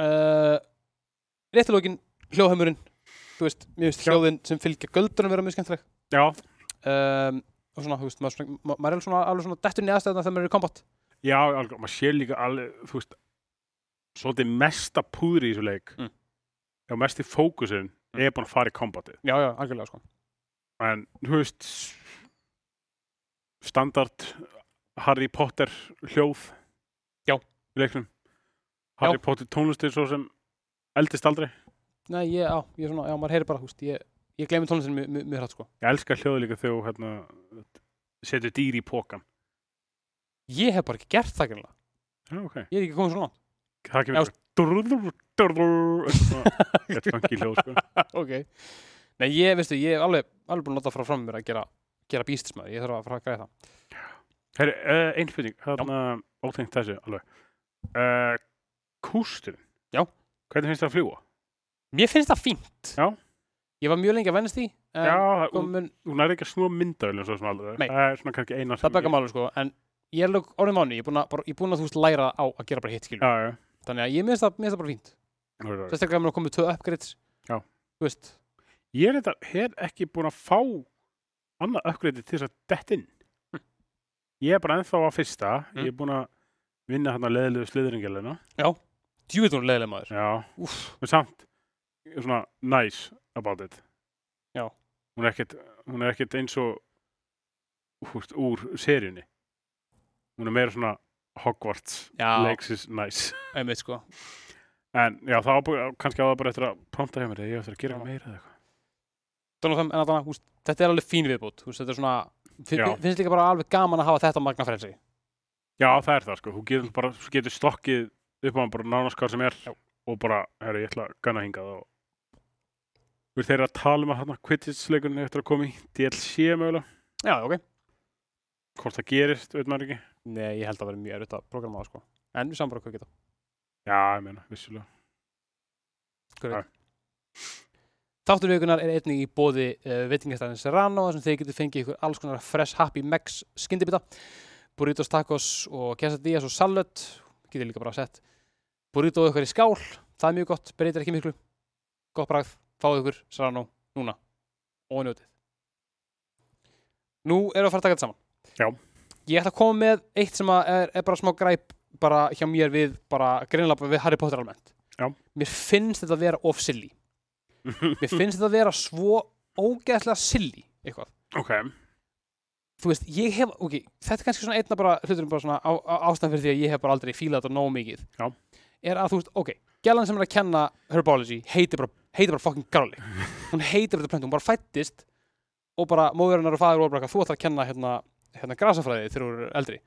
uh, réttilókin hljóðheimurinn, þú veist mér finnst Já. hljóðin sem fylgja göldunum vera mjög skemmtileg já, um, og svona, þú veist, maður, svona- ma- maður er svona alveg svona dettur neðastæðna þegar maður er í kombat já, alveg, maður sér líka alveg þú veist svolítið mesta púðri í þessu leik Mm. já, mesti fókusinn er búin að fara í kombatið já, já, algjörlega sko en þú veist s- standard Harry Potter hljóð Já. í leiknum Harry Já. Potter tónlistir svo sem eldist aldrei Nei, ég, já, ég er svona, já, maður heyri bara, þú veist ég, ég gleymi tónlistin mjög- mjög mjög hrætt sko ég elska hljóðu líka þegar þú, hérna, setur dýr í pókan ég hef bara ekki gert það greinlega, já ok ég er ekki komið svona Já, það kemur durður durður þetta fangi hljóð sko ok Nei, ég, veistu, ég er alveg, alveg búin að láta fara fram mér að gera, gera býstis maður, ég þarf að fara að græða það Heri, uh, ein spurning hérna, ótengt þessu alveg uh, kústurinn Já. hvernig finnst það að fljúa? Mér finnst það fínt Já. Ég var mjög lengi að vennast því en já, það- sko, mun, hún er ekki að snúa myndavélum svo sem alveg, Nei. það er svona kannski eina sem það bækka máli sko en ég er alveg orðin mánu, ég er búin að, bara, ég er búin að þú veist læra á að gera bara hitt skilur Já, já, Þannig að ég minnst það, mér finnst það bara fínt já, já. Sérstaklega mér að koma með tvö upgrades Já. Þú veist, Ég er þetta, er ekki búin að fá annað uppgreiti til þess að dett inn. Hm. Ég er bara ennþá á fyrsta, ég er búin að vinna hann að leðilegu sliðringelina. djúið hún leiðileg maður Já, Úff, en samt, ég er svona nice about it. Já. Hún er ekkert, hún er ekkert eins og húst, úr seríunni. Hún er meira svona Hogwarts, Já. Lex is nice. einmitt sko En já, það var bara- kannski á það bara eftir að prompta hjá mér, ég á eftir að gera Já. meira eða eitthvað. Donald, en, en, húst, Þetta er alveg fín viðbútt húst, Þetta er svona, Já. fin- finnst líka bara alveg gaman að hafa þetta magna frelsi Já, það er það sko, þú getur bara, þú getur stokkið upp á hann bara nánast hvað sem er Já. og bara, herru, ég ætla að ganna hingað og við þeir eru að tala um að hann kvittisleikunni eftir að koma í DLC mögulega, Já, ok. hvort það gerist, veit maður ekki Nei, ég held að vera mjög erfitt að programma það, sko. En við saman bara hvað geta. Já, ég meina, vissulega Þáttur vikunar er einnig í bóði uh, veitingastæðin Serrano þar sem þeir getur fengið ykkur alls konar fresh happy mex skyndibita, burritos, tacos og quesadillas og salad getur líka bara sett burrito ykkur í skál, það er mjög gott, breytir ekki miklu gott bragð, fáðu ykkur Serrano núna og njótið Nú erum við að fara að taka þetta saman Já. Ég ætla að koma með eitt sem að er, er bara smá græp bara hjá mér við, bara greinlega bara við Harry Potter almennt Já. Mér finnst þetta að vera of silly mér finnst þetta að vera svo ógeðslega silly eitthvað. Ok, Þú veist, ég hef, ok, þetta er kannski svona einna bara hluturum bara svona á, á, ástæðan fyrir því að ég hef bara aldrei fílað þetta nóg mikið. Já. Er að þú veist, ok, gælan sem er að kenna Herbology heitir bara, heitir bara fucking garlic. Hún heitir þetta plöntu, hún bara fættist og bara móður hennar og faður og bara eitthvað, þú ætlar að kenna hérna, hérna grasafræði þegar þú eru eldri.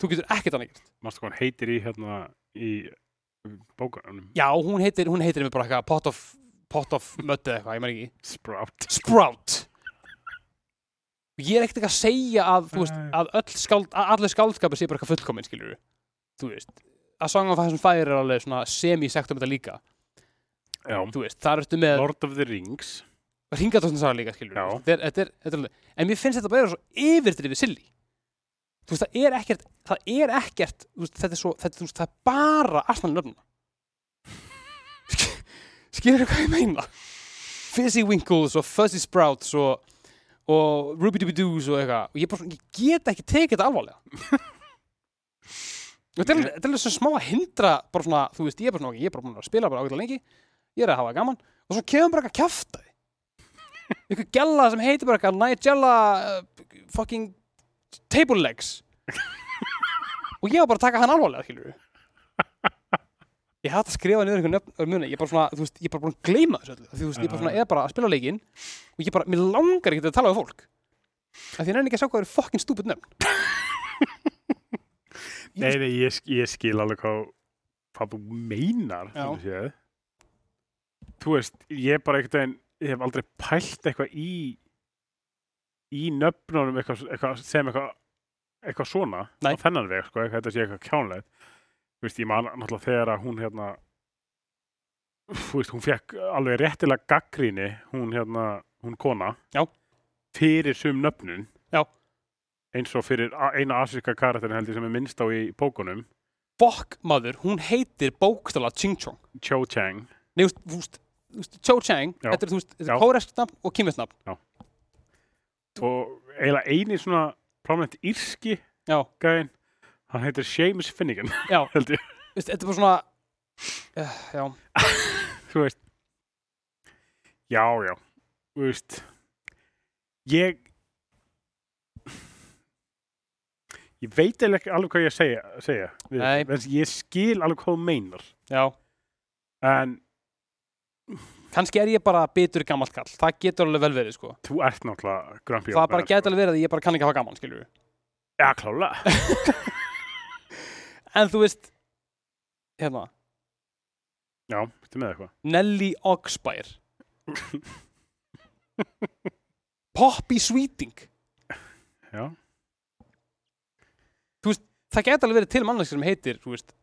Þú getur ekkert annað gert. mástu hvað hann heitir í hérna í bókanum Já, hún heitir, hún heitir mér bara eitthvað pot of, pot of mud eða eitthvað, ég maður ekki. Sprout Sprout ég er ekkert ekki að segja að þú veist, Nei. að öll skáld að allir skáldskapur sé bara eitthvað fullkominn skilur þú veist, að Song of Ice and Fire er alveg svona semi-sektum þetta líka Já, þú veist, þar ertu með Lord of the Rings ringatóttin saga líka skilur Já. þetta er, þetta er, þetta er alveg, en mér finnst þetta bara vera svo yfirdrifið silly þú veist, það er ekkert það er ekkert, þú veist, þetta er svo þetta, þú veist, það er bara arslan nöfnum skilur hvað ég meina Fizzy Winkles og Fuzzy Sprouts og, og Ruby Dooby Doos og eitthvað og ég, bara, svona- ég get ekki tekið þetta alvarlega Og þetta er alveg- þetta er alveg sem smá að hindra bara svona, þú veist, ég er bara svona, ok, ég er bara búin að spila bara ágætlega lengi, ég er að hafa gaman og svo kemur bara eitthvað kjaftaði einhver gella sem heitir bara eitthvað Nigella uh, fucking table legs og ég var bara að taka hann alvarlega, skilur ég hætti að skrifa niður einhver nöfn muni, ég er bara svona, þú veist, ég er bara búin að gleyma þessu öllu, Af því, þú veist, ég bara svona, er bara að spila leikinn og ég bara, mér langar ekki að tala um fólk af því ég nenni ekki að sjá hvað eru fucking stúpid nöfn Ég Nei, nei, ég, sk- ég skil alveg hvað, hvað þú meinar Já. þannig séð. Þú veist, ég er bara einhvern veginn ég hef aldrei pælt eitthvað í í nöfnunum eitthvað, eitthvað sem eitthvað eitthvað svona Nei. á þennan veg, sko, eitthvað, þetta sé eitthvað kjánlegt Þú veist, ég man náttúrulega þegar að hún hérna þú veist, hún fekk alveg réttilega gaggríni hún hérna, hún kona Já. fyrir sum nöfnun Já. eins og fyrir a- eina asíska karakterin held ég sem er minnst á í bókunum Bokkmaður, hún heitir bókstala Ching Chong Cho Chang Nei, þú veist, þú veist, þú veist, Cho Chang Já. Þetta er, þú veist, þetta Já. er kóresk nafn og kýmest nafn og eiginlega eini svona prominent írski Já, gæðin hann heitir Seamus Finnegan já, held ég, þú veist, þetta er bara svona uh, Já, þú veist já, já, þú veist ég ég veit eiginlega ekki alveg hvað ég að segja, segja við Nei. þetta, vegna þess að ég skil alveg hvað þú meinar já en Kannski er ég bara bitur gamalt kall Það getur alveg vel verið, sko þú ert náttúrulega grömpi Það bara getur alveg verið að ég bara kann ekki hafa gaman, skilur já, klálega En þú veist, hérna já, þetta með eitthvað Nelly Oxbær Poppy Sweeting já, Það getur alveg verið til mannlegs sem heitir, þú veist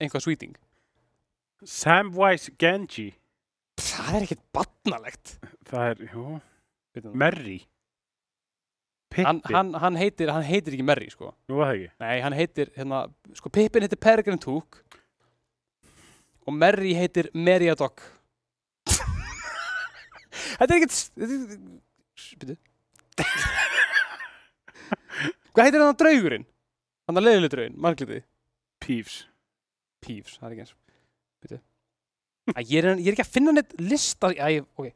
einhvað Sweeting Samwise Genji Það er ekkert barnalegt það er, jú, Veitum það. Merry Pippi, hann, hann, hann, heitir, hann heitir ekki Merry sko. nú var það ekki Nei, hann heitir hérna, sko, Pippin heitir Peregrine Took og Merry heitir Meriadoc Þetta er ekkert s- þetta er- Býtu Hvað heitir hann draugurinn? Hann er leiðileg draugurinn, marglitið Peeves Pífs, það er ekki eins Býtu Æ, ég, er, ég er ekki að finna neitt lista Æ, ég- ok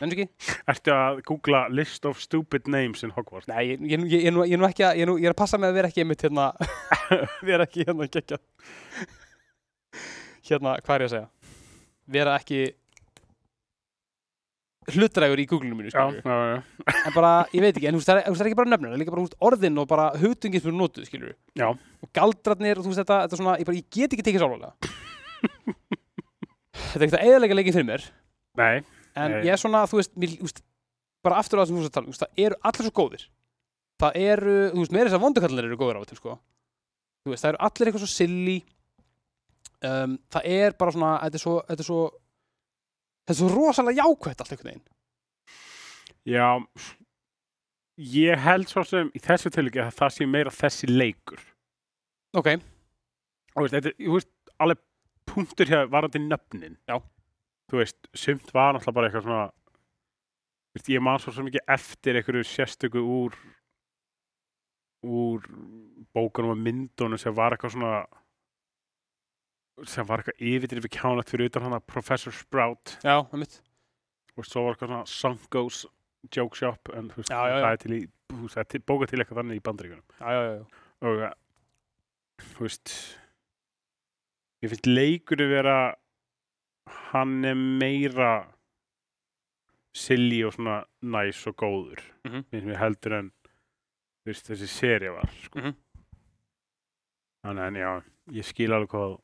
Menni ekki? Ertu að googla list of stupid names in Hogwarts? Nei, ég, ég, ég, ég, er nú- ég, er nú ekki að, ég, er nú, ég er að passa með að vera ekki einmitt hérna vera ekki hérna gekkja hérna, hvað er ég að segja vera ekki hlutrægur í Google-inu mínu, já, skilur já, já, en bara, ég veit ekki, en þú veist, það er, þú veist, það er ekki bara nöfnir, það er líka bara þú veist, orðin og bara hugtungin sem við notuð, skilur við. Já. Og galdrarnir og þú veist, þetta, þetta er svona, ég, bara, ég get ekki tekið sálulega. þetta er ekkert að eðalega leikið fyrir mér, nei, en Nei. ég er svona, þú veist, mér, þú veist, bara aftur á það sem þú veist að tala, um, þú veist, það eru allir svo góðir. Það eru, þú veist, meira þess að vondukallar eru góðir á þetta, sko. Þú veist, það eru allir eitthvað svo silly. Um, það er bara svona, þetta er svo, þetta er svo, þetta er svo rosalega jákvætt allt einhvern veginn. já ég held svo sem í þessu tilviki að það sé meira þessi leikur Ok, og veist, þetta er, þú veist, alveg punktur hér varandi nöfnin Já. þú veist, sumt var náttúrulega bara eitthvað svona þú veist, ég man svo sem ekki eftir einhverju sérstöku úr úr bókunum og myndunum sem var eitthvað svona sem var eitthvað yfirdrifi kjánlegt fyrir utan hana Professor Sprout já, það mitt. og svo var eitthvað svona Sunko's Joke Shop en þú veist, Já, já, já. það er til í þú veist, það er til, bóka til eitthvað þannig í bandaríkunum Já, já, já, já. og uh, þú veist ég finnst leikur að vera hann er meira silly og svona næs og góður Mhm. finnst mér heldur en þú veist, þessi seri var sko. Mhm. þannig en já ég skil alveg hvað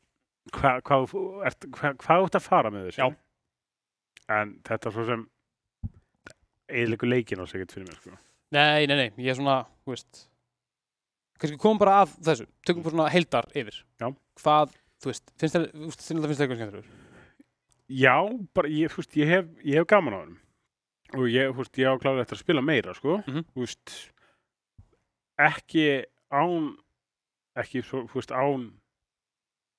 hvað hva, hva, hva, hva þú ert að fara með þessu Já. en þetta svo sem eðlíku leikin á sig ekkert fyrir mér sko. Nei, nei, nei, ég er svona, þú veist kannski komum bara að þessu tökum bara svona heildar yfir Já. Hvað, þú veist, finnst þér þú veist, þér finnst þér eitthvað skemmtilegur Já, bara, ég, þú veist, ég hef, ég hef gaman á honum og ég, þú veist, ég ákláði eftir að spila meira, sko, Mhm. þú veist, ekki án, ekki, svo- þú veist, án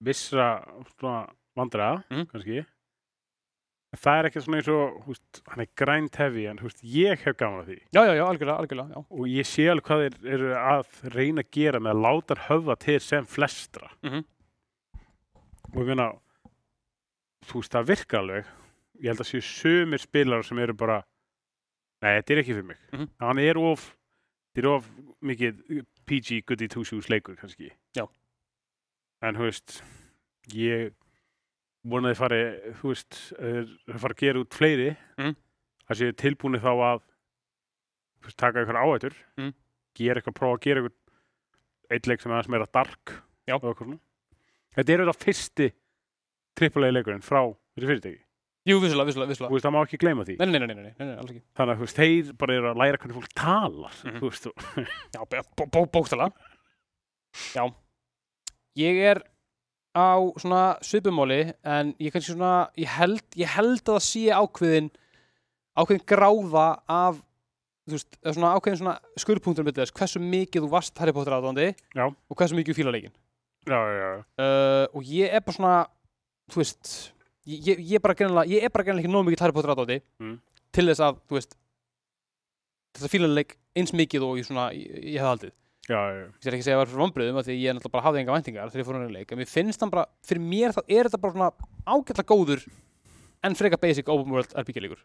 vissra, svona, vandræða, Mhm. kannski, en það er ekki svona eins og, þú veist, hann er grænt hefi, en, þú veist, ég hef gaman á því Já, já, já, algjörlega, algjörlega, já og ég sé alveg hvað þeir eru að reyna að gera með að láta hann höfða til sem flestra Mhm. og ég meina þú veist það virka alveg ég held að séu sömur spilarar sem eru bara nei þetta er ekki fyrir mig Mhm. hann er of þetta er of mikið PG goody two shoes leikur kannski Já. en þú veist ég vonaði fari þú veist eh, þeir fara að gera út fleiri Mhm. það séu tilbúinir þá að þú veist, taka eitthvað áætur Mm. gera eitthvað, prófa að gera eitthvað eitt leik sem er aðeins meira dark Já. og eitthvað svona þetta er þetta fyrsti trippulegi leikurinn frá þessu fyrirtæki Jú, vissulega, vissulega, þú vissulega veist, það má ekki gleyma því Nei, nei, nei, nei, nei, nei, nei, alls ekki þannig að þú veist, þeir bara eru að læra hvernig fólk talar Mhm. þú veist, og- Já, bó, bó, bó, bóktala Já Ég er á svona svipumóli en ég kannski svona, ég held ég held að það sé ákveðin ákveðin gráða af þú veist, eða svona ákveðin svona skurðpunktur milli þess, hversu mikið þú varst Harry Potter aðdóndi Já. og hversu mikið þú fílar leikinn já, já, já, uh, og ég er bara svona þú veist ég, ég- ég er bara greinlega ég er bara greinlega ekki nóg mikið Harry Potter aðdátti Mm. til þess að þú veist þess að fílanleik eins mikið og ég svona ég, ég hef haldið já, já, já. ég er ekki að segja að það var fyrir vonbröðum af því að ég náttúrulega bara hafði enga væntingar þegar ég fór hann í leik en mér finnst hann bara fyrir mér þá er þetta bara svona ágætla góður en frekar basic open world RPG leikur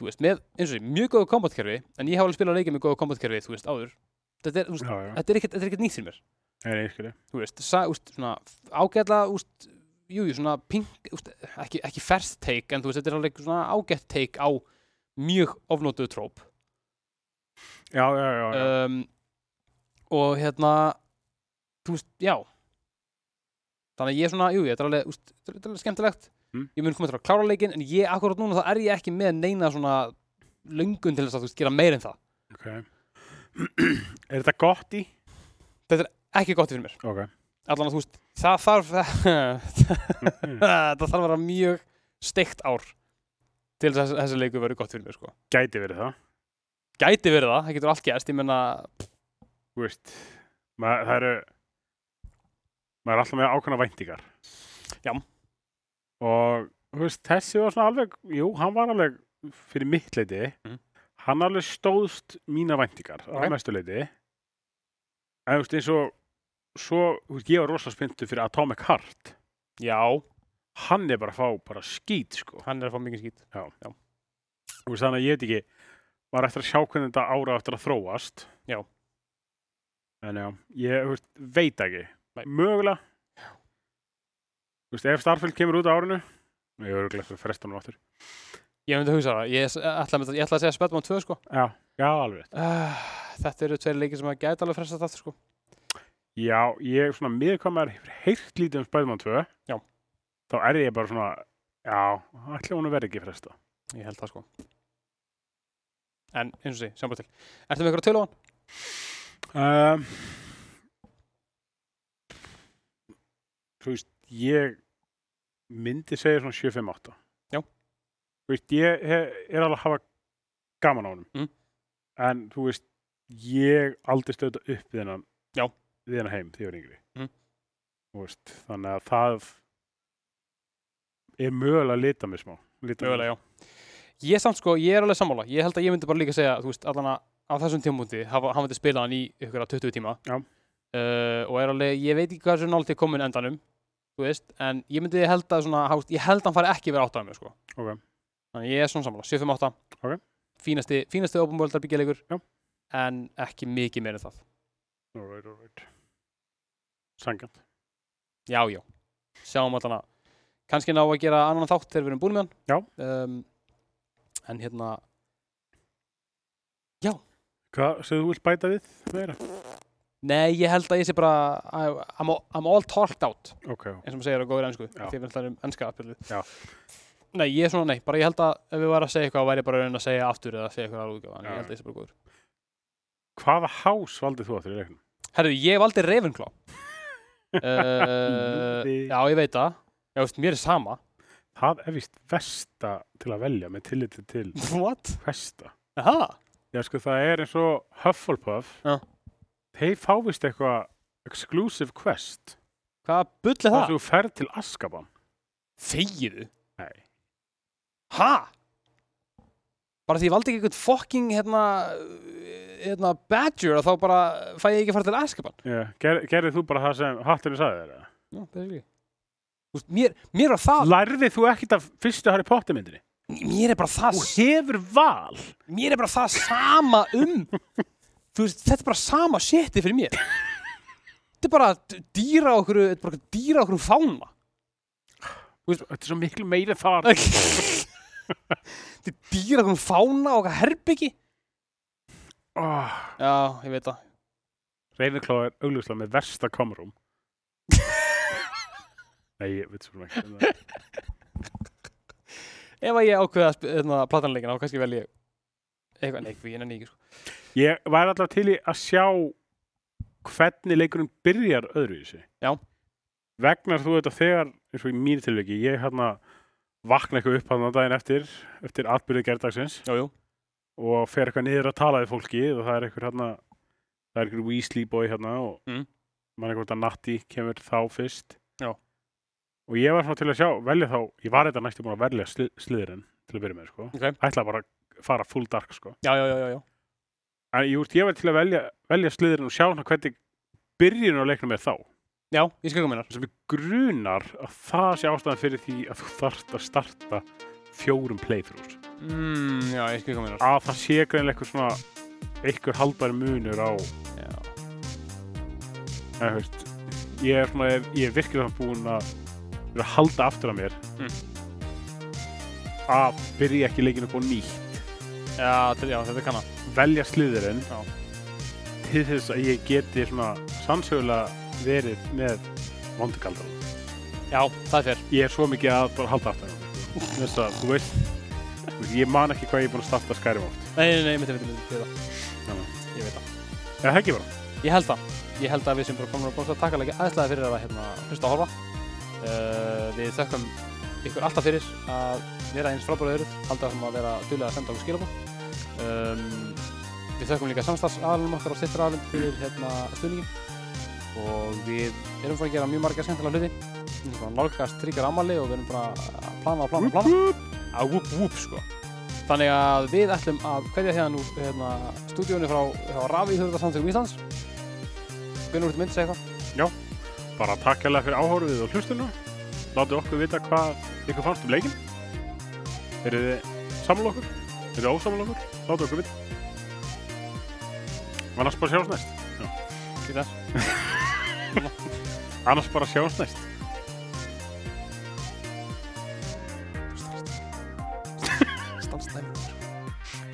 þú veist með eins og því mjög góðu kombatkerfi en ég hef alveg spilað leikið með góðu kombatkerfi þú veist áður þetta er, þú veist, já, já. þetta er ekkert- þetta er ekkert nýtt fyrir mér Nei, nei, ég skil þig. þú veist, sa, úst, svona ágætla úst, jú, jú, svona pink úst, ekki, ekki first take, en þú veist, þetta er alveg svona ágætt take á mjög ofnótuðu tróp já, já, já, já. um, og hérna þú veist, já þannig að ég er svona, jú, þetta er alveg, úst, þetta er- þetta er alveg skemmtilegt Mm. ég mun koma til að klára leikinn, en ég akkurat núna þá er ég ekki með neina svona löngun til þess að þú veist, gera meira en það ok er þetta gott í? ekki gott fyrir mér, ok allan að þú veist það þarf það þarf að vera mjög steikt ár til þess að þessi leiku verið gott fyrir mig sko. gæti verið það gæti verið það, það getur allt gerst ég menna, þú veist, maður, það eru maður er alltaf með ákveðna væntingar Já. og þú veist, þessi var svona alveg jú, hann var alveg fyrir mitt leiti Mhm. hann alveg stóðst mína væntingar Ok. á mestu leiti en þú veist, eins og svo, þú veist, ég var rosa spyntu fyrir Atomic Heart já, hann er bara að fá bara skít, sko hann er að fá mikið skýt Þú veist, þannig að ég veit ekki var eftir að sjá hvernig þetta ára á eftir að þróast Já. en já, ég þú veist, veit ekki Nei. mögulega Þú veist, ef Starfield kemur út á árinu ég er örglega eftir að fresta hann aftur Ég myndi að hugsa það, ég s- ætla, að mynda- ég ætla að segja Spellman 2 sko Já, já, alveg. uh, Þetta eru tveir leikir sem að gæta alveg frestast aftur sko Já, ég er svona miðkvæmar heilt lítið um Spiderman 2. Já. Þá er ég bara svona, já, ætla hún að vera ekki fresta. Ég held það sko En eins og því, sjáum bara til Ertu með ykkur að tölu á hann? Um, þú veist, ég myndi segja svona 7-5-8. Já. Þú veist, ég he, er alveg að hafa gaman á honum. Mm. En þú veist, ég aldrei stöða upp við hennan, Já. við hennan heim þegar ég var yngri. Mm. Þú veist, þannig að það er mögulega að lita mig smá. Lita mig. Mögulega, já Ég samt sko, ég er alveg sammála Ég held að ég myndi bara líka segja, þú veist, allan að á þessum tímúti, hann myndi spila hann í ykkur 20 tíma Já. uh, Og er alveg, ég veit ekki hvað þessu nált er komin endanum Þú veist, en ég myndi held að svona, hást, ég held að hann fari ekki verið átt af mér sko Ok. Þannig ég er svona sammála, 7-5-8 Ok. Fínasti, fínasti open world byggjaleikur Já. En ekki mikið meira en það All right, all right. Sangjant. Já, já, sjáum allan að kannski ná að gera annan þátt þegar við erum búin með hann um, En hérna, Hvað sem þú vilt bæta við meira? nei, ég held að ég sé bara I- I'm, all- I'm all talked out Ok, eins og maður segir á góður ennsku Já. Því við ætlum ennska pjöldu Já. Nei, ég er svona nei, bara ég held að ef við varum að segja eitthvað væri ég bara raunin að segja aftur eða segja eitthvað alveg en Já. ég held að ég sé bara góður Hvaða hás valdið þú aftur í leiknum? Herru, ég valdi Ravenclaw uh, Ljúfi. Já, ég veit það Já, veist, mér er sama Það er vist versta til að velja með tilliti til What? versta. Aha, Já, sko, það er eins og Hufflepuff. Já. Þeir fá vist eitthvað exclusive quest. hvaða bull er Það það? sem þú ferð til Azkaban. Þegiðu Nei. Ha? Bara því ég valdi ekki eitthvað fucking hérna, uh, hérna badger að þá bara fæ ég ekki að fara til Azkaban Já, ger, gerðið þú bara það sem hatturinn sagði þér? eða? Já, basically Úst, mér, mér var það Lærðið þú ekkert af fyrstu Harry Potter myndinni? mér er bara það Þú hefur val. mér er bara það sama um þú veist, þetta er bara sama shitið fyrir mér þetta er bara d- dýra okkur þetta er bara dýra okkur fána Þetta er svo miklu meira þar. þetta er dýra okkur fána og okkar herbyggi Oh, já, ég veit það Ravenclaw er augljóslega með versta komrúm. Nei, ég veit svo ekki. um það. ef að ég ákveða að sp- hérna, platanleikin þá kannski vel ég eitthvað, nei, ég nenni ekki sko. Ég væri alltaf til í að sjá hvernig leikurinn byrjar öðruvísi. Já. Vegnar þú þetta þegar, eins og í mínu tilviki, ég hérna vakna eitthvað upp hann daginn eftir, eftir atbyrðið gerðdagsins jú, jú, og fer eitthvað niður að tala við fólki og það er eitthvað hérna, það er eitthvað Weasley boy hérna og Mm. mann eitthvað að Natti kemur þá fyrst. Já. Og ég var svona til að sjá, velja þá, ég var þetta næstu búin að velja sli, sliðurinn til að byrja með, sko. Ok. Ætla bara að fara full dark, sko. já, já, já, já, já. En ég, úst, ég var til að velja, velja sliðurinn og sjá hann hvernig byrjun á leiknum er þá. já ég skilgum minnar Þess að mér grunar að það sé ástæðan fyrir því að þú þarft að starta fjórum playthroughs. mm, já, ég skilgum minnar Að það sé greinlega eitthvað svona einhver haldbæri munur á, já. eða veist, ég er svona, ég er virkilega búin að vera að halda aftur að mér að byrja ekki leikinu upp á nýtt, Já, til, já, þetta kann að velja sliðurinn Já. til þess að ég geti svona sannsögulega verið með vondukaldar. já, það er fyrr ég er svo mikið að bara halda aftur á mér, sko. þess að þú veist þú veist, ég man ekki hvað ég er búin að starta skærum átt nei, nei, nei, mitt, mitt, mitt, mitt, Þannig. ég veit það eða það ekki bara ég held það ég held að við sem bara komin að bósta takkalega aðeinslega fyrir að hérna hlusta að horfa uh, við þökkum ykkur alltaf fyrir að vera eins frábæra öðruð alltaf sem að vera duðlega að senda okkur skilabó um, við þökkum líka samstagsraðalum okkar og styrtaraðalum fyrir hérna stuðningin og við erum frá að gera mjög marga skemmtilega hluti við erum bara að nálgast tryggar ammali og við erum bara að plana og plana og plana að whoop whoop sko þannig að við ætlum að hverja hérna úr hérna, stúdíónu frá, frá Rafi Þurðarsamtökum Íslands Gunnar út í mynd segja eitthvað bara takk hérlega fyrir áhorfið og hlustinu látið okkur vita hvað ykkur fannst um leikin eru þið sammála okkur eru þið ósammála okkur látið okkur vita annars bara sjáumst næst til þess annars bara sjáumst næst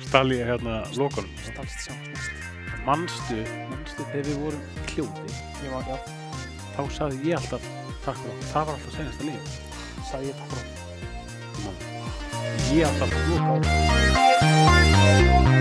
stal ég hérna lokunum. Stalst sjá, stalst. Manstu, manstu þegar við vorum í hljóði, Ég var, já, þá saði ég alltaf takk fyrir okkur. Það var alltaf senasta líf. sagði ég takk frá. Ég alltaf loka á. Thank you.